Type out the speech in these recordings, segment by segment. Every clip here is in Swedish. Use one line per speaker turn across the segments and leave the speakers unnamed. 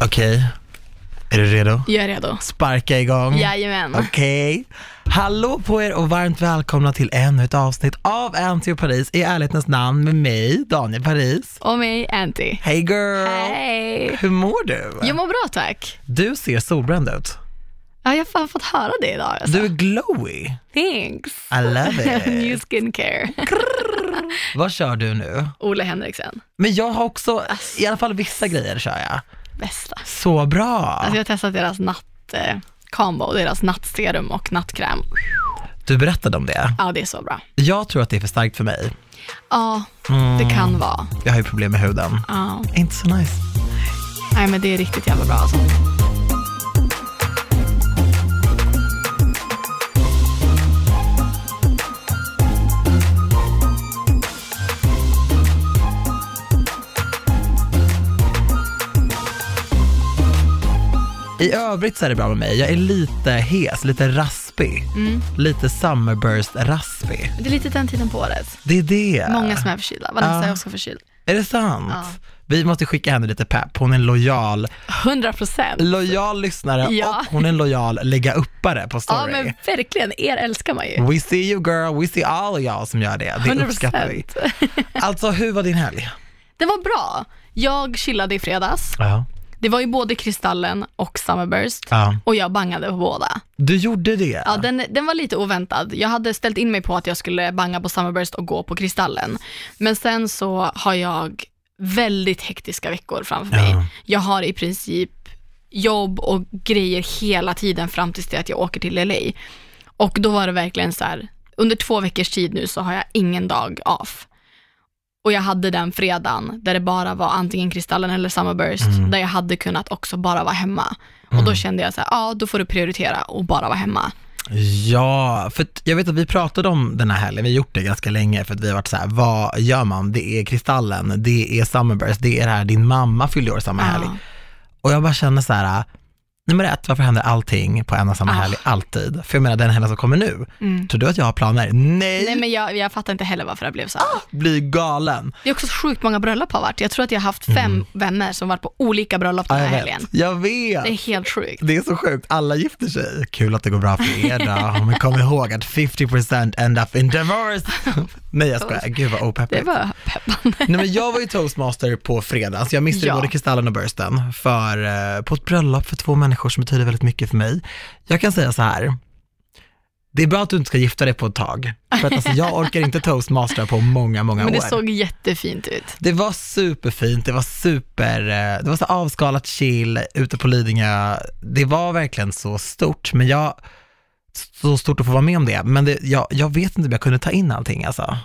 Okej, är du redo?
Jag är
Mm.
redo.
Sparka igång.
Jajamän.
Okej. Hallå på er och varmt välkomna till ännu ett avsnitt av Anty och Paris i ärlighetens namn med mig, Daniel Paris.
Och mig, Anty.
Hey girl!
Hej!
Hur mår du?
Jag mår bra tack.
Du ser solbränd ut.
Ja, jag har fan fått höra det idag. Alltså.
Du är glowy.
Thanks.
I love
New
it.
skincare.
Vad kör du nu?
Ola Henriksen.
Men jag har också, i alla fall vissa grejer kör jag.
Bästa.
Så bra!
Alltså, jag har testat deras natt eh, combo, deras nattserum och nattkräm.
Du berättade om det.
Ja, det är så bra.
Jag tror att det är för starkt för mig.
Ja, det
Mm.
kan vara.
Jag har ju problem med huden.
Ja.
Inte så nice.
Nej, men det är riktigt jävla bra alltså.
I övrigt så är det bra med mig. Jag är lite hes, lite raspig.
Mm.
Lite summerburst-raspig.
Det är lite den tiden på året.
Det är det.
Många som är förkylda. Vanessa
Ja.
är också förkyld.
Är det sant?
Ja.
Vi måste skicka henne lite pepp. Hon är en lojal,
100 procent.
lojal lyssnare
Ja.
och hon är en lojal lägga-uppare på
Ja,
story.
men verkligen. Er älskar man ju.
We see you girl, we see all y'all som gör det. Det
100%.
uppskattar vi. Alltså hur var din helg?
Det var bra. Jag chillade i fredags.
Ja.
Det var ju både Kristallen och Summerburst.
ja.
Och jag bangade på båda.
Du gjorde det?
Ja, den, den var lite oväntad. Jag hade ställt in mig på att jag skulle banga på Summerburst och gå på Kristallen. Men sen så har jag väldigt hektiska veckor framför mig.
Ja.
Jag har i princip jobb och grejer hela tiden fram tills det att jag åker till LA. Och då var det verkligen så här, under två veckors tid nu så har jag ingen dag off. Och jag hade den fredagen där det bara var antingen Kristallen eller Summerburst, där jag hade kunnat också bara vara hemma. Och då kände jag så här, ja då får du prioritera och bara vara hemma.
Ja, för att jag vet att vi pratade om den här helgen, vi har gjort det ganska länge för att vi har varit så här, vad gör man? Det är Kristallen, det är Summerburst, det är det här, din mamma fyllde år samma
Ja.
helg. Och jag bara känner så här, nummer ett, varför händer allting på en och samma
Ah. Mm.
helg alltid? För jag menar den helgen som kommer nu, tror du att jag har planer? Nej,
Nej men jag, jag fattar inte heller varför det blev så här.
blir galen.
Det är också sjukt många bröllop har varit. Jag tror att jag har haft fem vänner som varit på olika bröllop den
Mm. Ja,
här
jag
helgen.
vet. Jag vet.
Det är helt sjukt.
Det är så sjukt, alla gifter sig. Kul att det går bra för er då, men kom ihåg att 50% end up in divorce. Nej jag skojar, gud vad opeppigt.
Det var peppande.
Nej men jag var ju toastmaster på fredags, jag missade
Ja.
både Kristallen och Bursten för, eh, på ett bröllop för två människor som betyder väldigt mycket för mig. Jag kan säga så här, det är bra att du inte ska gifta dig på ett tag, för att alltså, jag orkar inte toastmastera på många, många
Men det
år.
såg jättefint ut.
Det var superfint, det var super, eh, det var så avskalat chill ute på Lidingö. Det var verkligen så stort, men jag, så stort att få vara med om det, men det, jag, jag vet inte om jag kunde ta in allting alltså.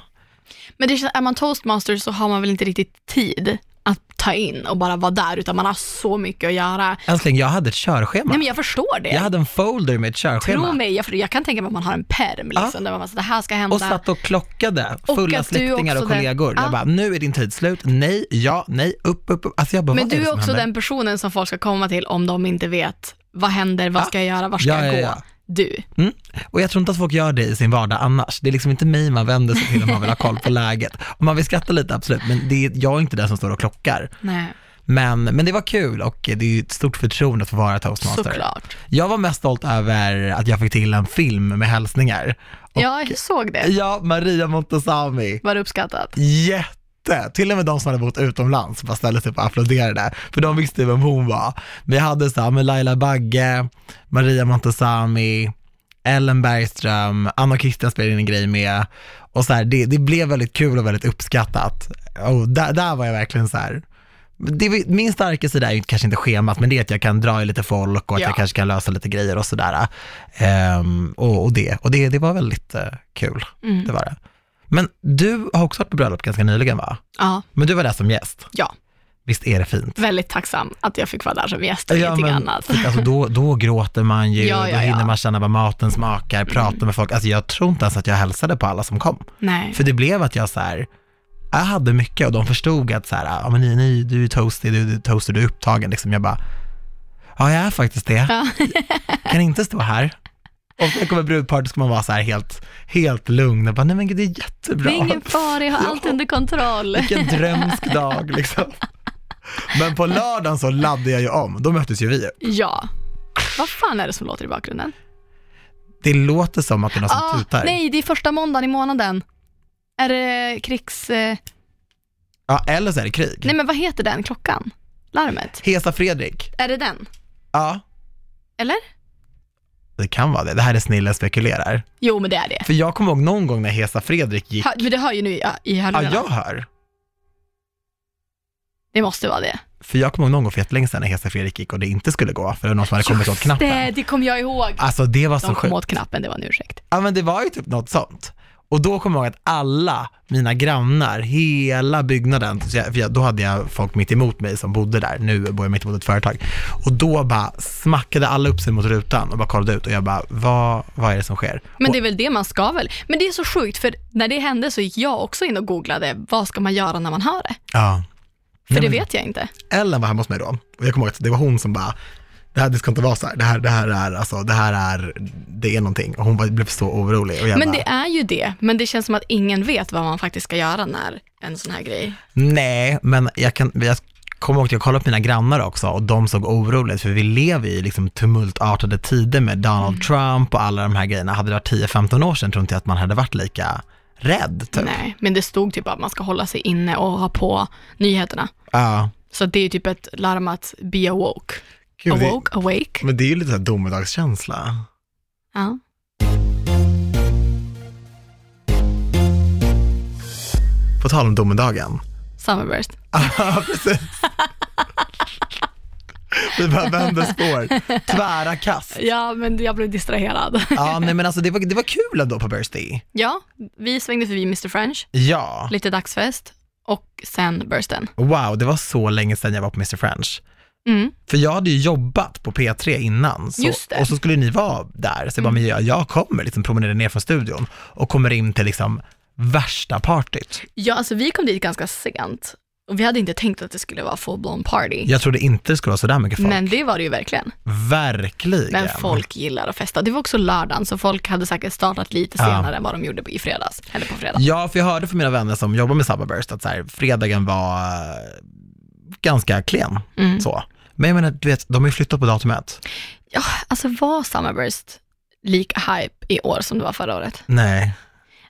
Men det känns, är man toastmaster så har man väl inte riktigt tid att ta in och bara vara där, utan man har så mycket att göra.
Älskling, jag hade ett körschema.
Nej men jag förstår det.
Jag hade en folder med ett körschema.
Tro mig, jag, jag kan tänka mig att man har en perm liksom, där man bara, så, det här ska hända.
Och satt och klockade
Och
fulla
att du
släktingar och
också den-
kollegor. Jag
Ah.
bara, nu är din tid slut, nej, ja, nej, upp, upp, upp. Alltså jag bara,
men
vad
du
det
är
som
också
händer?
den personen som folk ska komma till om de inte vet vad händer, vad
Ja.
ska jag göra, var ska
Ja,
jag
ja,
gå?
ja.
Du.
Mm. Och jag tror inte att folk gör det i sin vardag annars. Det är liksom inte mig man vänder sig till om man vill ha koll på läget. Om man vill skratta lite, absolut, men det är, jag är inte den som står och klockar.
Nej,
Men, men det var kul och det är ju ett stort förtroende att få vara toastmaster.
såklart.
Jag var mest stolt över att jag fick till en film med hälsningar. Och,
Ja, jag såg det.
ja, Maria Montazami.
Var det uppskattat?
jätte. Till och med de som hade bott utomlands bara ställde sig upp och applåderade, för de visste ju vem hon var. Vi hade så här med Laila Bagge, Maria Montazami, Ellen Bergström, Anna och Christian spelade in en grej med. Och så här, det, det blev väldigt kul och väldigt uppskattat. Och där, där var jag verkligen så här. Det, är- min starka sida är ju kanske inte schemat, men det är att jag kan dra i lite folk och att
Ja.
jag kanske kan lösa lite grejer och sådär. Ehm, och, och det, och det, det var väldigt eh, kul,
Mm.
det var det. Men du har också varit på bröllop ganska nyligen va?
Ja,
Men du var där som gäst.
ja.
Visst är det fint?
Väldigt tacksam att jag fick vara där som gäst och ingenting
men,
annat.
för alltså, då, då gråter man ju,
Ja,
då
ja,
hinner
ja. Mm.
man känna vad maten smakar, prata med folk. Alltså jag tror inte ens att jag hälsade på alla som kom.
Nej.
För det blev att jag så här, jag hade mycket och de förstod att så här, ja men ni, ni, du är toastig, du, du är toastig, du är upptagen. Liksom jag bara, ja jag är faktiskt det.
Ja.
kan inte stå här. Och sen kommer brudparet, ska man vara så här helt, helt lugn och bara, nej men gud det är jättebra.
Det är ingen fara, jag har allt under kontroll.
Vilken drömsk dag liksom. Men på lördagen så laddade jag ju om, då möttes ju vi.
Ja. Vad fan är det som låter i bakgrunden?
Det låter som att det är någon som
Ah,
tutar.
nej, det är första måndagen i månaden. Är det krigs... eh,
Ja, eller så är det krig.
Nej men vad heter den klockan? Larmet?
Hesa Fredrik.
Är det den?
Ja,
Eller?
det kan vara det. Det här är snillen spekulerar.
Jo men det är det.
För jag kommer ihåg någon gång när Hesa Fredrik gick. Ah,
Ha, men det hör ju nu i, i
Ja,
hörlurarna.
jag hör.
Det måste vara det.
För jag kommer ihåg någon gång för jättelänge sedan när Hesa Fredrik gick och det inte skulle gå, för det var någon som hade kommit åt
Det,
knappen.
det kommer jag ihåg.
Alltså det var
De
så
kom
sjukt.
åt knappen, det var en ursäkt.
Ja men det var ju typ något sånt. Och då kommer jag ihåg att alla mina grannar, hela byggnaden, så jag, för jag, då hade jag folk mitt emot mig som bodde där, nu bor jag mitt emot ett företag. Och då bara smackade alla upp sig mot rutan och bara kollade ut och jag bara, vad, vad är det som sker?
Men
och,
det är väl det man ska väl? Men det är så sjukt, för när det hände så gick jag också in och googlade, vad ska man göra när man hör det?
ja.
För
Nej,
det
men-
vet jag inte.
Ellen var hemma hos mig då och jag kommer ihåg att det var hon som bara, det här det ska inte vara så här, det här, det här är, alltså det här är, det är någonting. Och hon bara, blev så orolig och jag
Men
bara,
det är ju det, men det känns som att ingen vet vad man faktiskt ska göra när en sån här grej.
Nej, men jag, kan, jag kommer ihåg att jag kollade upp mina grannar också och de såg oroligt för vi lever i liksom tumultartade tider med
Mm.
Donald Trump och alla de här grejerna. Hade det varit 10-15 år sedan tror inte jag att man hade varit lika rädd. Typ.
Nej, men det stod typ att man ska hålla sig inne och ha på nyheterna.
Ja.
Så det är typ ett larm att be awoke.
Gud, det,
Awoke, awake.
men det är ju lite så här domedagskänsla.
Ja.
På tal om domedagen.
Summerburst.
Ja, precis. Vi bara vänder spår. Tvära kast.
Ja, men jag blev distraherad.
Ja, nej men alltså det var, det var kul ändå på Birthday.
Ja, vi svängde förbi Mr French,
Ja.
lite dagsfest och sen bursten.
Wow, det var så länge sedan jag var på Mr French.
Mm.
För jag hade ju jobbat på P3 innan så,
Just det. Mm.
och så skulle ni vara där. Så jag bara, men jag, jag kommer, liksom promenerar ner från studion och kommer in till liksom värsta partyt.
Ja, alltså vi kom dit ganska sent och vi hade inte tänkt att det skulle vara full-blown party.
Jag trodde inte det skulle vara sådär mycket folk.
Men det var det ju verkligen.
Verkligen.
Men folk gillar att festa. Det var också lördagen, så folk hade säkert startat lite
Ja.
senare än vad de gjorde i fredags, eller på fredag.
Ja, för jag hörde från mina vänner som jobbar med Summerburst att så här, fredagen var eh, ganska klen.
Mm.
Så. Men jag menar, du vet, de har ju flyttat på datumet.
Ja, alltså var Summerburst lika hype i år som det var förra året?
Nej.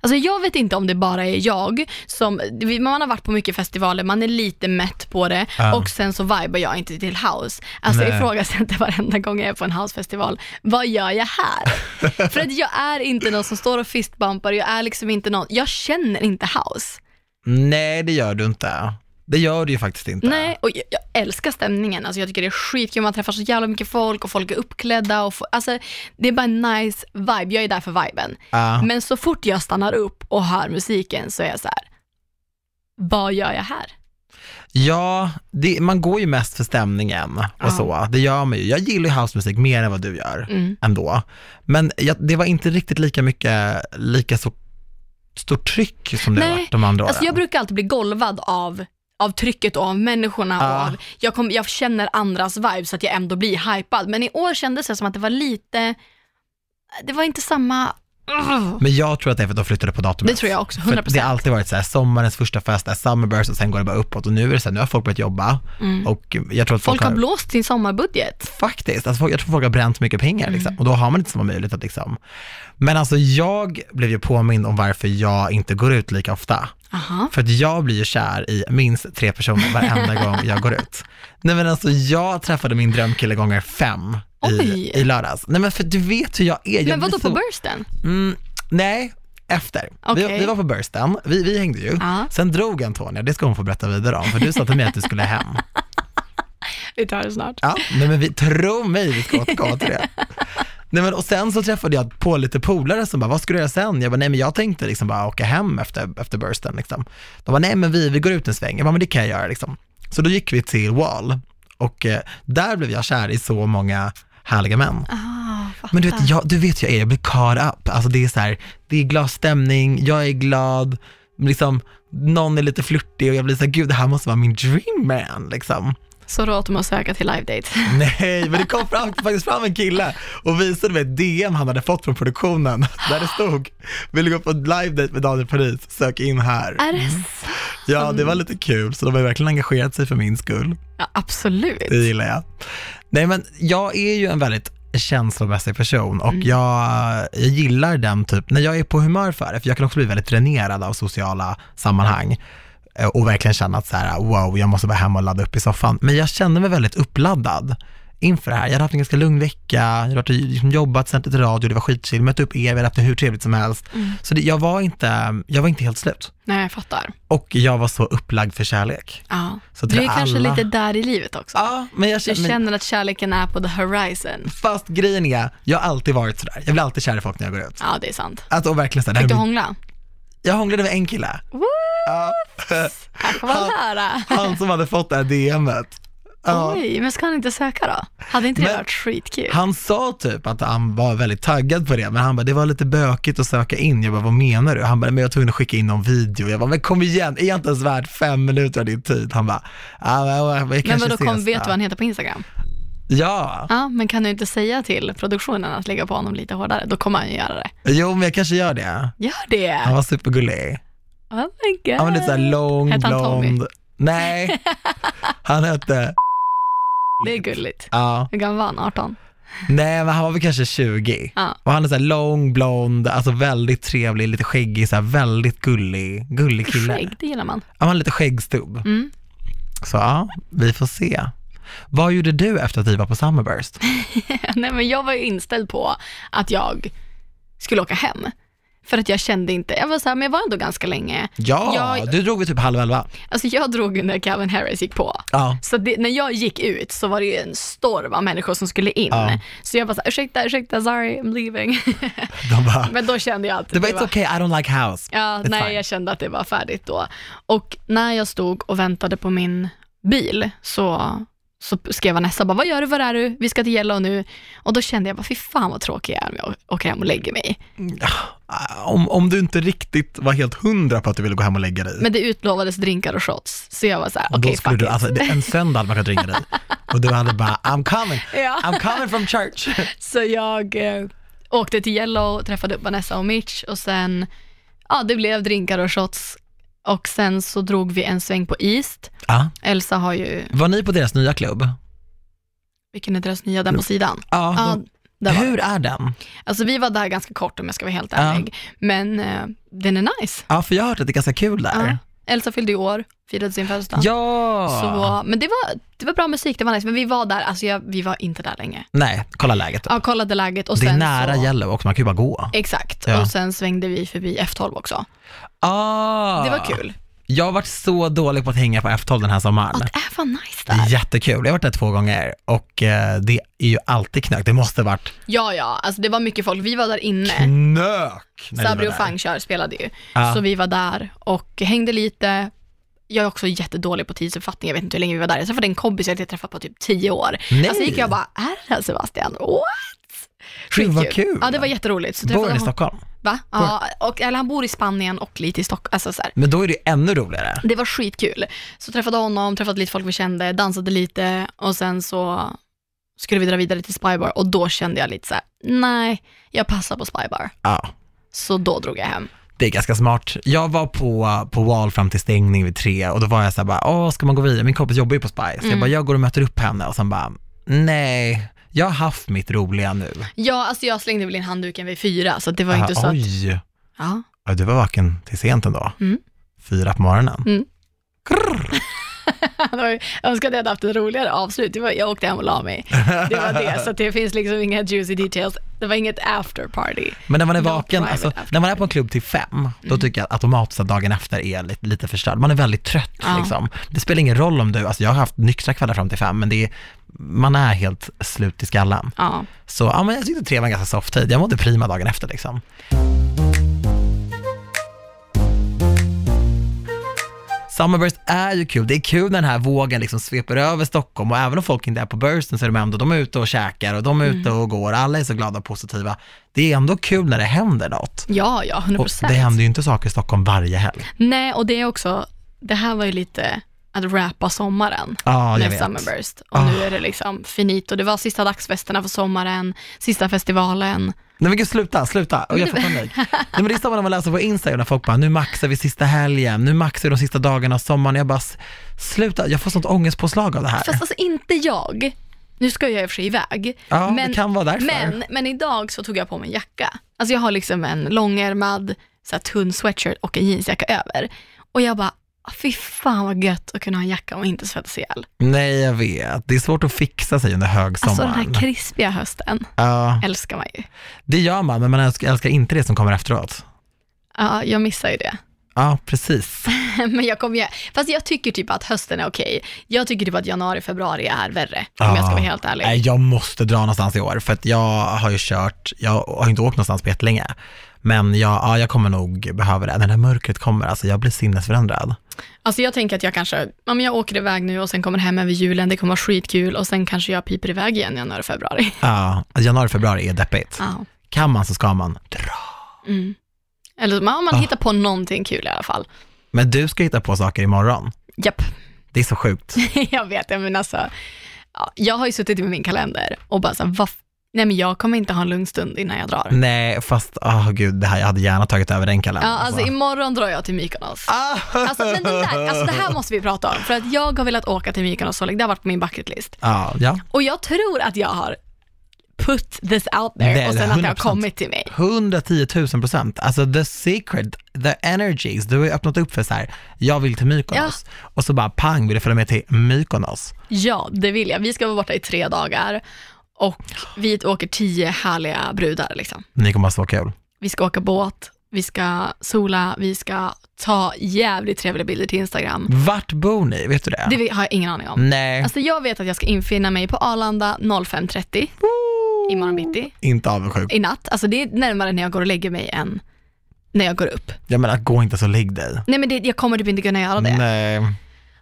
Alltså jag vet inte om det bara är jag som, man har varit på mycket festivaler, man är lite mätt på det
Ja.
och sen så vibar jag inte till house. Alltså
Nej.
jag ifrågasätter varenda gång jag är på en housefestival, vad gör jag här? För att jag är inte någon som står och fistbumpar, jag är liksom inte någon, jag känner inte house.
Nej, det gör du inte. Det gör du ju faktiskt inte.
Nej, och jag, jag älskar stämningen, alltså jag tycker det är skitkul, man träffar så jävla mycket folk och folk är uppklädda och få, alltså det är bara en nice vibe, jag är där för viben.
Ja.
Men så fort jag stannar upp och hör musiken så är jag så här. vad gör jag här?
Ja, det, man går ju mest för stämningen och
Ja.
så. Det gör man ju. Jag gillar ju housemusik mer än vad du gör
Mm.
ändå. Men jag, det var inte riktigt lika mycket, lika så stort tryck som det har
Nej,
varit de andra åren.
Alltså jag brukar alltid bli golvad av, av trycket och av människorna.
Ja.
Och av, jag, kom, jag känner andras vibe så att jag ändå blir hypad. Men i år kändes det som att det var lite, det var inte samma...
Men jag tror att det är för att de flyttade på datumet.
Det tror jag också,
För att
100%.
det har alltid varit så här, sommarens första fest är Summerburst och sen går det bara uppåt och nu är det så här, nu har folk börjat jobba och jag tror att folk,
Mm. Folk har blåst sin sommarbudget.
Faktiskt, alltså folk, jag tror folk har bränt mycket pengar
Mm.
liksom, och då har man inte samma möjlighet att liksom. Men alltså jag blev ju påmind om varför jag inte går ut lika ofta.
Aha.
För att jag blir ju kär i minst tre personer varenda gång jag går ut. Nej men alltså jag träffade min drömkille gånger fem
Oj.
i, i lördags. Nej men för du vet hur jag är. Jag
Men
blir
vadå
så...
på bursten?
Mm, nej, efter. Vi,
Okej.
vi var på bursten, vi, vi hängde ju.
Ja.
Sen drog Antonia, det ska hon få berätta vidare om, för du sa till mig att du skulle hem.
Vi tar det snart.
Ja, nej men vi, tro mig, vi ska återkomma till det. Nej men och sen så träffade jag på lite polare som bara, vad ska du göra sen? Jag bara, nej men jag tänkte liksom bara åka hem efter, efter bursten liksom. De bara, nej men vi, vi går ut en sväng. Jag bara, men det kan jag göra liksom. Så då gick vi till Wall och eh, där blev jag kär i så många härliga män.
Ah, fattar.
Men du vet, jag, du vet hur jag är, jag blir caught up. Alltså det är så här, det är glad stämning, jag är glad, liksom någon är lite flörtig och jag blir så här, gud det här måste vara min dream man liksom.
Så då åt de att söka till live date.
Mm. Nej, men det kom fram, faktiskt fram en kille och visade mig ett DM han hade fått från produktionen där det stod “Vill du gå på ett live date med Daniel Paris? Sök in här”.
Är det sant?
Ja, det var lite kul, så de har ju verkligen engagerat sig för min skull.
Ja, absolut.
Det gillar jag. Nej, men jag är ju en väldigt känslomässig person och
Mm.
jag, jag gillar den typ, när jag är på humör för det, för jag kan också bli väldigt dränerad av sociala sammanhang eh, och verkligen känna att så här, wow, jag måste vara hemma och ladda upp i soffan. Men jag kände mig väldigt uppladdad inför det här. Jag hade haft en ganska lugn vecka, jag hade varit och liksom jobbat, sänt lite radio, det var skitchill, mött upp er, vi hade haft det hur trevligt som helst.
Mm.
Så det, jag, var inte, jag var inte helt slut.
Nej, jag fattar.
Och jag var så upplagd för kärlek.
Ja.
Så
Du är
till
kanske
alla-
lite där i livet också.
Ja, men jag
Du
känner, men-
känner att kärleken är på the horizon.
Fast grejen är, jag har alltid varit sådär. Jag blir alltid kär i folk när jag går ut.
Ja, det är sant.
Att, och verkligen sådär,
Fick du
nej, men-
hångla?
jag hånglade med en kille.
Woo!
Ja.
Här får man
Ja.
höra.
Han som hade fått det här DMet. Ja.
Oj, men ska han inte söka då? Hade inte det
Men-
varit skitkul?
Han sa typ att han var väldigt taggad på det, men han bara, det var lite bökigt att söka in. Jag bara, vad menar du? Han bara, men jag var tvungen att skicka in någon video. Jag bara, men kom igen, är jag inte ens värd fem minuter av din tid? Han bara, ja, men, jag kanske
Men vadå, kom,
ses
vet du
då."
vad han heter på Instagram?
Ja,
Ja, men kan du inte säga till produktionen att lägga på honom lite hårdare? Då kommer han ju göra det.
jo men jag kanske gör det.
Gör det!
Han var supergullig.
Oh my god.
Han var lite såhär lång,
Hette han Tommy?
blond. Nej, han hette,
Det är gulligt.
ja.
Hur gammal var han? 18?
Nej, men han var väl kanske 20.
Ja.
Och han är så här lång, blond, alltså väldigt trevlig, lite skäggig, så här väldigt gullig, gullig kille.
Skägg, det gillar man.
Ja, Han har lite skäggstubb.
Mm.
Så ja, vi får se. Vad gjorde du efter att vi var på Summerburst?
Nej, men jag var ju inställd på att jag skulle åka hem. För att jag kände inte, jag var så här, men jag var ändå ganska länge.
Ja,
Jag-
du drog vi typ halv elva.
Alltså jag drog ju när Calvin Harris gick på.
Ja.
Så det, när jag gick ut så var det ju en storm av människor som skulle in.
Ja.
Så jag bara så här, ursäkta, ursäkta, sorry, I'm leaving.
De bara,
men då kände jag att
det var it's okay, I don't like house.
Ja,
It's
nej,
fine.
jag kände att det var färdigt då. Och när jag stod och väntade på min bil så, så skrev Vanessa bara, vad gör du, var är du, vi ska till Yellow nu. Och då kände jag bara, fy fan vad tråkig jag är om jag åker hem och lägger mig.
Ah, Om, om du inte riktigt var helt hundra på att du ville gå hem och lägga dig.
Men det utlovades drinkar och shots, så jag var så här, okej,
då skulle
fuck
du,
it.
alltså, det- en söndag hade man kunnat ringa dig. Och du hade bara, I'm coming,
Ja.
I'm coming from church.
Så jag eh, åkte till Yellow, träffade upp Vanessa och Mitch och sen, ja det blev drinkar och shots. Och sen så drog vi en sväng på East.
Ja.
Elsa har ju,
Var ni på deras nya klubb?
vilken är deras nya, den på sidan?
Ja.
Ja,
de-
där var vi.
Hur är den?
Alltså vi var där ganska kort om jag ska vara helt
Ja.
ärlig, men eh, den är nice.
Ja, för jag har hört att det är ganska kul där.
Ja. Elsa fyllde i år, firade sin födelsedag.
Ja!
Så, men det var, det var bra musik, det var nice, men vi var där, alltså jag, vi var inte där länge.
Nej, kolla läget.
Ja, kollade läget och
det är
sen
nära
så,
Yellow också, man kan ju bara gå.
Exakt,
Ja.
och sen svängde vi förbi F12 också.
Ah.
Det var kul.
Jag har varit så dålig på att hänga på F12 den här sommaren.
Ja, det är fan nice
det
där.
är jättekul, jag har varit där två gånger och eh, det är ju alltid knök. Det måste ha varit
Ja, ja, alltså det var mycket folk. Vi var där inne.
knök! Mm. när vi
Sabri
var
och
där.
Fang kör, spelade ju.
Ja.
Så vi var där och hängde lite. Jag är också jättedålig på tidsuppfattning, jag vet inte hur länge vi var där. Jag träffade en kompis jag inte träffat på typ tio år.
Nej.
Alltså gick jag och bara, är det här Sebastian? What?
Gud, vad kul.
Ja, det var jätteroligt. Så
Bor
träffade
han i
hon-
Stockholm?
Va? Ja, och, eller han bor i Spanien och lite i Stockholm. Alltså, så här.
Men då är det ju ännu roligare.
Det var skitkul. Så träffade honom, träffade lite folk vi kände, dansade lite och sen så skulle vi dra vidare till Spybar och då kände jag lite så här: nej, jag passar på Spybar.
Ja.
Så då drog jag hem.
Det är ganska smart. Jag var på, på Wall fram till stängning vid tre och då var jag så här bara, åh ska man gå vidare? Min kompis jobbar ju på Spice.
Mm.
Jag bara, jag går och möter upp henne och sen bara, nej, jag har haft mitt roliga nu.
Ja, alltså jag slängde väl in handduken vid fyra, så det var
Aha,
inte så att...
Oj,
Ja.
ja, du var vaken till sent ändå.
Mm.
Fyra på morgonen.
Mm.
Grrr.
Det var ju- Jag önskar att jag hade haft ett roligare avslut. Det var, jag åkte hem och la mig. Det var det, så att det finns liksom inga juicy details. Det var inget after party.
Men när man är
No
vaken,
private
alltså,
after
när man är på en klubb till fem,
Mm.
då tycker jag att automatiskt att dagen efter är lite, lite förstörd. Man är väldigt trött
Ja.
liksom. Det spelar ingen roll om du, alltså jag har haft nyktra kvällar fram till fem, men det är, man är helt slut i skallen.
Ja.
Så ja, men jag tyckte tre var en ganska soft tid. Jag mådde prima dagen efter liksom. Summerburst är ju kul. Det är kul när den här vågen liksom sveper över Stockholm och även om folk inte är på bursten så är de ändå, de är ute och käkar och de är ute och går. Alla är så glada och positiva. Det är ändå kul när det händer något.
Ja, ja,
Och
100%.
det händer ju inte saker i Stockholm varje helg.
Nej, och det är också, det här var ju lite att rappa sommaren.
Ja, jag
med
vet. Ah.
Summerburst. Och nu är det liksom finito. Det var sista dagsfesterna för sommaren, sista festivalen.
Nej men gud sluta, sluta. Och jag får panik. Nej men det är samma när man läser på Instagram när folk bara, nu maxar vi sista helgen, nu maxar vi de sista dagarna av sommaren. Jag bara, "S- sluta, jag får sånt ångestpåslag av det här.
Fast alltså inte jag. Nu ska jag i och för sig iväg.
Ja, det kan vara därför.
Men, men idag så tog jag på mig en jacka. Alltså jag har liksom en långärmad, så här tunn sweatshirt och en jeansjacka över. Och jag bara, "Ah, fy fan vad gött att kunna ha en jacka och inte svettas ihjäl.
Nej jag vet, det är svårt att fixa sig under
Alltså
högsommaren.
den här krispiga hösten
ja,
älskar man ju.
det gör man, men man älskar, älskar inte det som kommer efteråt.
Ja, jag missar ju det.
Ja, precis.
men jag kommer ju, fast jag tycker typ att hösten är okej. Jag tycker typ att januari, februari är värre, om jag ska vara
Ja.
helt ärlig.
Nej, jag måste dra någonstans i år, för att jag har ju kört, jag har inte åkt någonstans på jättelänge. Men jag, ja, jag kommer nog behöva det. När det här mörkret kommer, alltså jag blir sinnesförändrad.
Alltså jag tänker att jag kanske, ja men jag åker iväg nu och sen kommer hem över julen, det kommer vara skitkul och sen kanske jag piper iväg igen i januari, februari.
Ja, alltså januari, februari är deppigt.
Ja.
Kan man så ska man dra.
Mm. Eller ja, man
Ah.
hittar på någonting kul i alla fall.
Men du ska hitta på saker imorgon.
Japp,
Det är så sjukt.
jag vet, jag menar alltså, ja, jag har ju suttit med min kalender och bara så här, "Vad f- nej men jag kommer inte ha en lugn stund innan jag drar.
Nej, fast, åh gud, det här, jag hade gärna tagit över den
Ja,
kalendern.
alltså
alltså.
imorgon drar jag till Mykonos.
Ah!
Alltså, men den där, alltså det här måste vi prata om, för att jag har velat åka till Mykonos så länge, det har varit på min bucket list.
Ja, ja.
Och jag tror att jag har put this out there
Nej,
och sen att det har
100%.
kommit till mig.
110 000 procent. Alltså the secret, the energies. Du har ju öppnat upp för så här, jag vill till Mykonos. Och så bara pang, vill du följa med till Mykonos?
Ja, det vill jag. Vi ska vara borta i tre dagar och vi åker tio härliga brudar. Liksom.
Ni kommer ha så kul.
Vi ska åka båt, vi ska sola, vi ska ta jävligt trevliga bilder till Instagram.
Vart bor ni? Vet du det?
Det vi- har jag ingen aning om.
Nej.
Alltså jag vet att jag ska infinna mig på Arlanda 05.30 imorgon bitti,
Inte avundsjuk.
i natt. Alltså det är närmare när jag går och lägger mig än när jag går upp.
Jag menar, gå inte så ligg dig.
Nej men det, jag kommer typ inte kunna göra det.
Nej.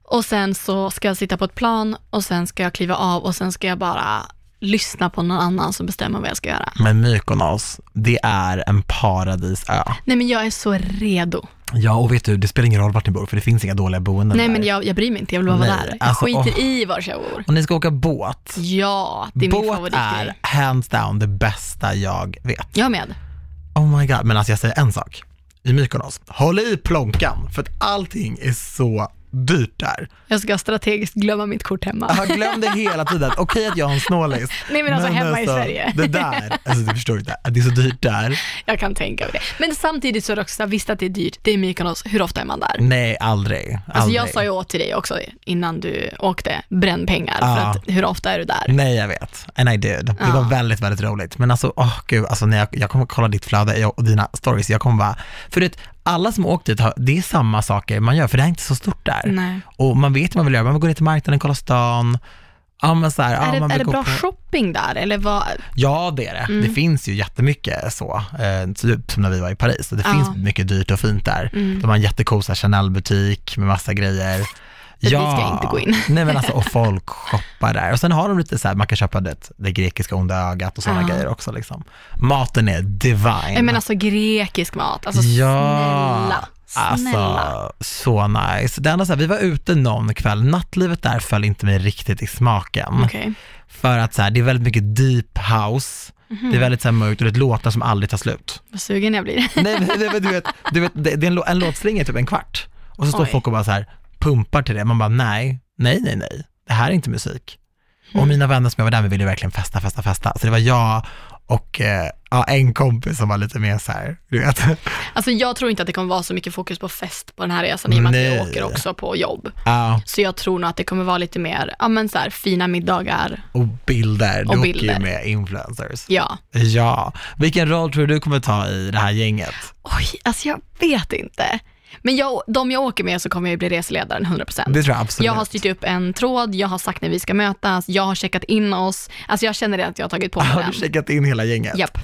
Och sen så ska jag sitta på ett plan och sen ska jag kliva av och sen ska jag bara lyssna på någon annan som bestämmer vad jag ska göra.
Men Mykonos, det är en paradisö.
Nej men jag är så redo.
Ja, och vet du, det spelar ingen roll vart ni bor, för det finns inga dåliga boenden
Nej
där.
men jag, jag bryr mig inte, jag vill bara vara
Nej,
där. Jag
alltså,
skiter
åh.
i var jag bor.
Och ni ska åka båt.
Ja, det är min
båt
favoritgrej.
är hands down det bästa jag vet.
Jag med.
Oh my god, men alltså jag säger en sak. I Mykonos, håll i plånkan för att allting är så dyrt där.
Jag ska strategiskt glömma mitt kort hemma.
Jag glömde hela tiden, okej att jag har en snålis.
Nej, men alltså hemma i Sverige.
Det där, alltså du förstår inte, det är så dyrt där.
Jag kan tänka mig det. Men samtidigt så är det också så här, visst att det är dyrt, det är Mykonos, hur ofta är man där?
Nej, aldrig. aldrig.
Alltså jag sa ju åt till dig också innan du åkte, bränn pengar, för
Ja.
att hur ofta är du där?
Nej, jag vet. And I did.
Typ. Ja.
Det var väldigt, väldigt roligt. Men alltså, åh gud, alltså när jag, jag kommer kolla ditt flöde jag- och dina stories, jag kommer bara, för du vet, alla som åkt dit, har- det är samma saker man gör, för det är inte så stort där.
Nej.
Och man vet vad man vill göra, man vill gå ner till marknaden, kolla stan, ja men så här, ja,
är
man
det,
vill
är det
gå
bra
på...
shopping där eller vad?
Ja, det är det.
Mm.
Det finns ju jättemycket så, eh, typ som när vi var i Paris. Det
Ja. Mm.
finns mycket dyrt och fint där. De har en jättecool så här Chanel-butik med massa grejer.
dit ska jag inte gå in.
Nej men alltså, och folk shoppar där. Och sen har de lite så här, man kan köpa det, det grekiska onda ögat och sådana
Ja.
grejer också liksom. Maten är divine.
Nej men alltså grekisk mat, alltså snälla. Snälla.
Alltså, så nice. Det enda så här, vi var ute någon kväll, nattlivet där föll inte mig riktigt i smaken.
Okej.
För att så här, det är väldigt mycket deep house, det är väldigt så här mörkt och det är låtar som aldrig tar slut.
Vad sugen jag blir.
Nej men, nej, men du vet, du vet det, det är en, lå- en låtslinga är typ en kvart och så står
Oj.
folk och bara så här pumpar till det. Man bara nej, nej, nej, nej, det här är inte musik.
Mm.
Och mina vänner som jag var där med ville verkligen festa, festa, festa. Så det var jag och eh, ja, en kompis som var lite mer så här, du vet.
Alltså jag tror inte att det kommer vara så mycket fokus på fest på den här resan i och med att
Nej.
jag åker också på jobb.
Ja,
Så jag tror nog att det kommer vara lite mer, ja men så här, fina middagar,
och bilder,
Och
du åker ju
bilder.
med influencers.
ja.
Ja, vilken roll tror du du kommer ta i det här gänget?
Oj, alltså jag vet inte. Men jag, de jag åker med så kommer jag ju bli reseledaren 100%.
Det tror jag absolut.
Jag har styrt upp en tråd, jag har sagt när vi ska mötas, jag har checkat in oss. Alltså jag känner redan att jag har tagit på mig
Har
den.
du checkat in hela gänget?
Japp.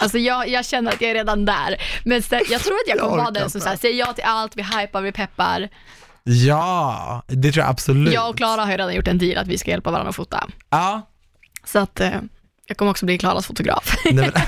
Alltså jag, jag känner att jag är redan där. Men sen, jag tror att jag kommer
Jag
vara
orkar
den som
inte.
så här, säger ja till allt, vi hypar, vi peppar.
Ja, det tror jag absolut.
Jag och Klara har ju redan gjort en deal att vi ska hjälpa varandra att fota.
Ja.
Så att eh, jag kommer också bli Klaras fotograf.
Nej, men...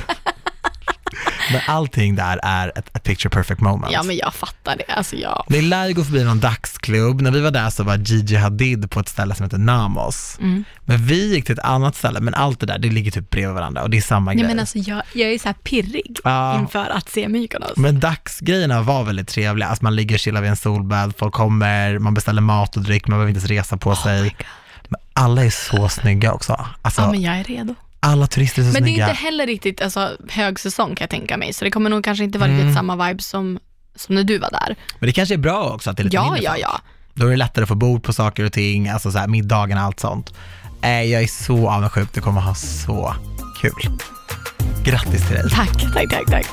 Men allting där är ett, ett picture perfect moment.
Ja men jag fattar det. Alltså jag,
Det lär ju gå förbi någon dagsklubb. När vi var där så var Gigi Hadid på ett ställe som heter Namos.
Mm.
Men vi gick till ett annat ställe, men allt det där, det ligger typ bredvid varandra och det är samma
nej
grej.
men alltså jag, jag är så här pirrig
Ja.
inför att se Mykonos.
Men dagsgrejerna var väldigt trevliga, alltså man ligger och chillar vid en solbad, folk kommer, man beställer mat och dryck, man behöver inte ens resa på
Oh my
sig.
God.
Men alla är så snygga också. Alltså,
Ja men jag är redo.
alla turister är så
Men det är
snygga.
inte heller riktigt alltså, högsäsong kan jag tänka mig, så det kommer nog kanske inte vara
Mm.
riktigt samma vibe som, som när du var där.
Men det kanske är bra också att det är lite
Ja,
mindre
ja,
folk.
ja.
Då är det lättare att få bord på saker och ting, alltså så här, middagen och allt sånt. Äh, jag är så avundsjuk, du kommer ha så kul. Grattis till dig.
Tack, tack, tack, tack.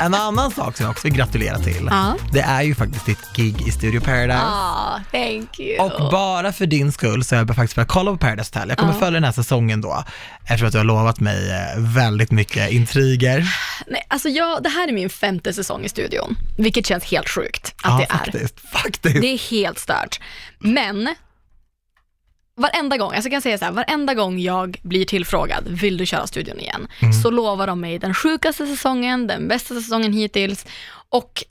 En annan sak som jag också vill gratulera till,
Ja.
det är ju faktiskt ditt gig i Studio Paradise.
Ah, thank you.
Och bara för din skull så har jag faktiskt börjat kolla på Paradise Hotel. Jag kommer följa den här säsongen då, eftersom att du har lovat mig eh, väldigt mycket intriger.
Nej, alltså jag, det här är min femte säsong i studion, vilket känns helt sjukt att det är.
faktiskt. Faktiskt.
Det är helt stört. Men varenda gång, alltså jag kan säga så här, varenda gång jag blir tillfrågad, vill du köra studion igen? Så lovar de mig den sjukaste säsongen, den bästa säsongen hittills och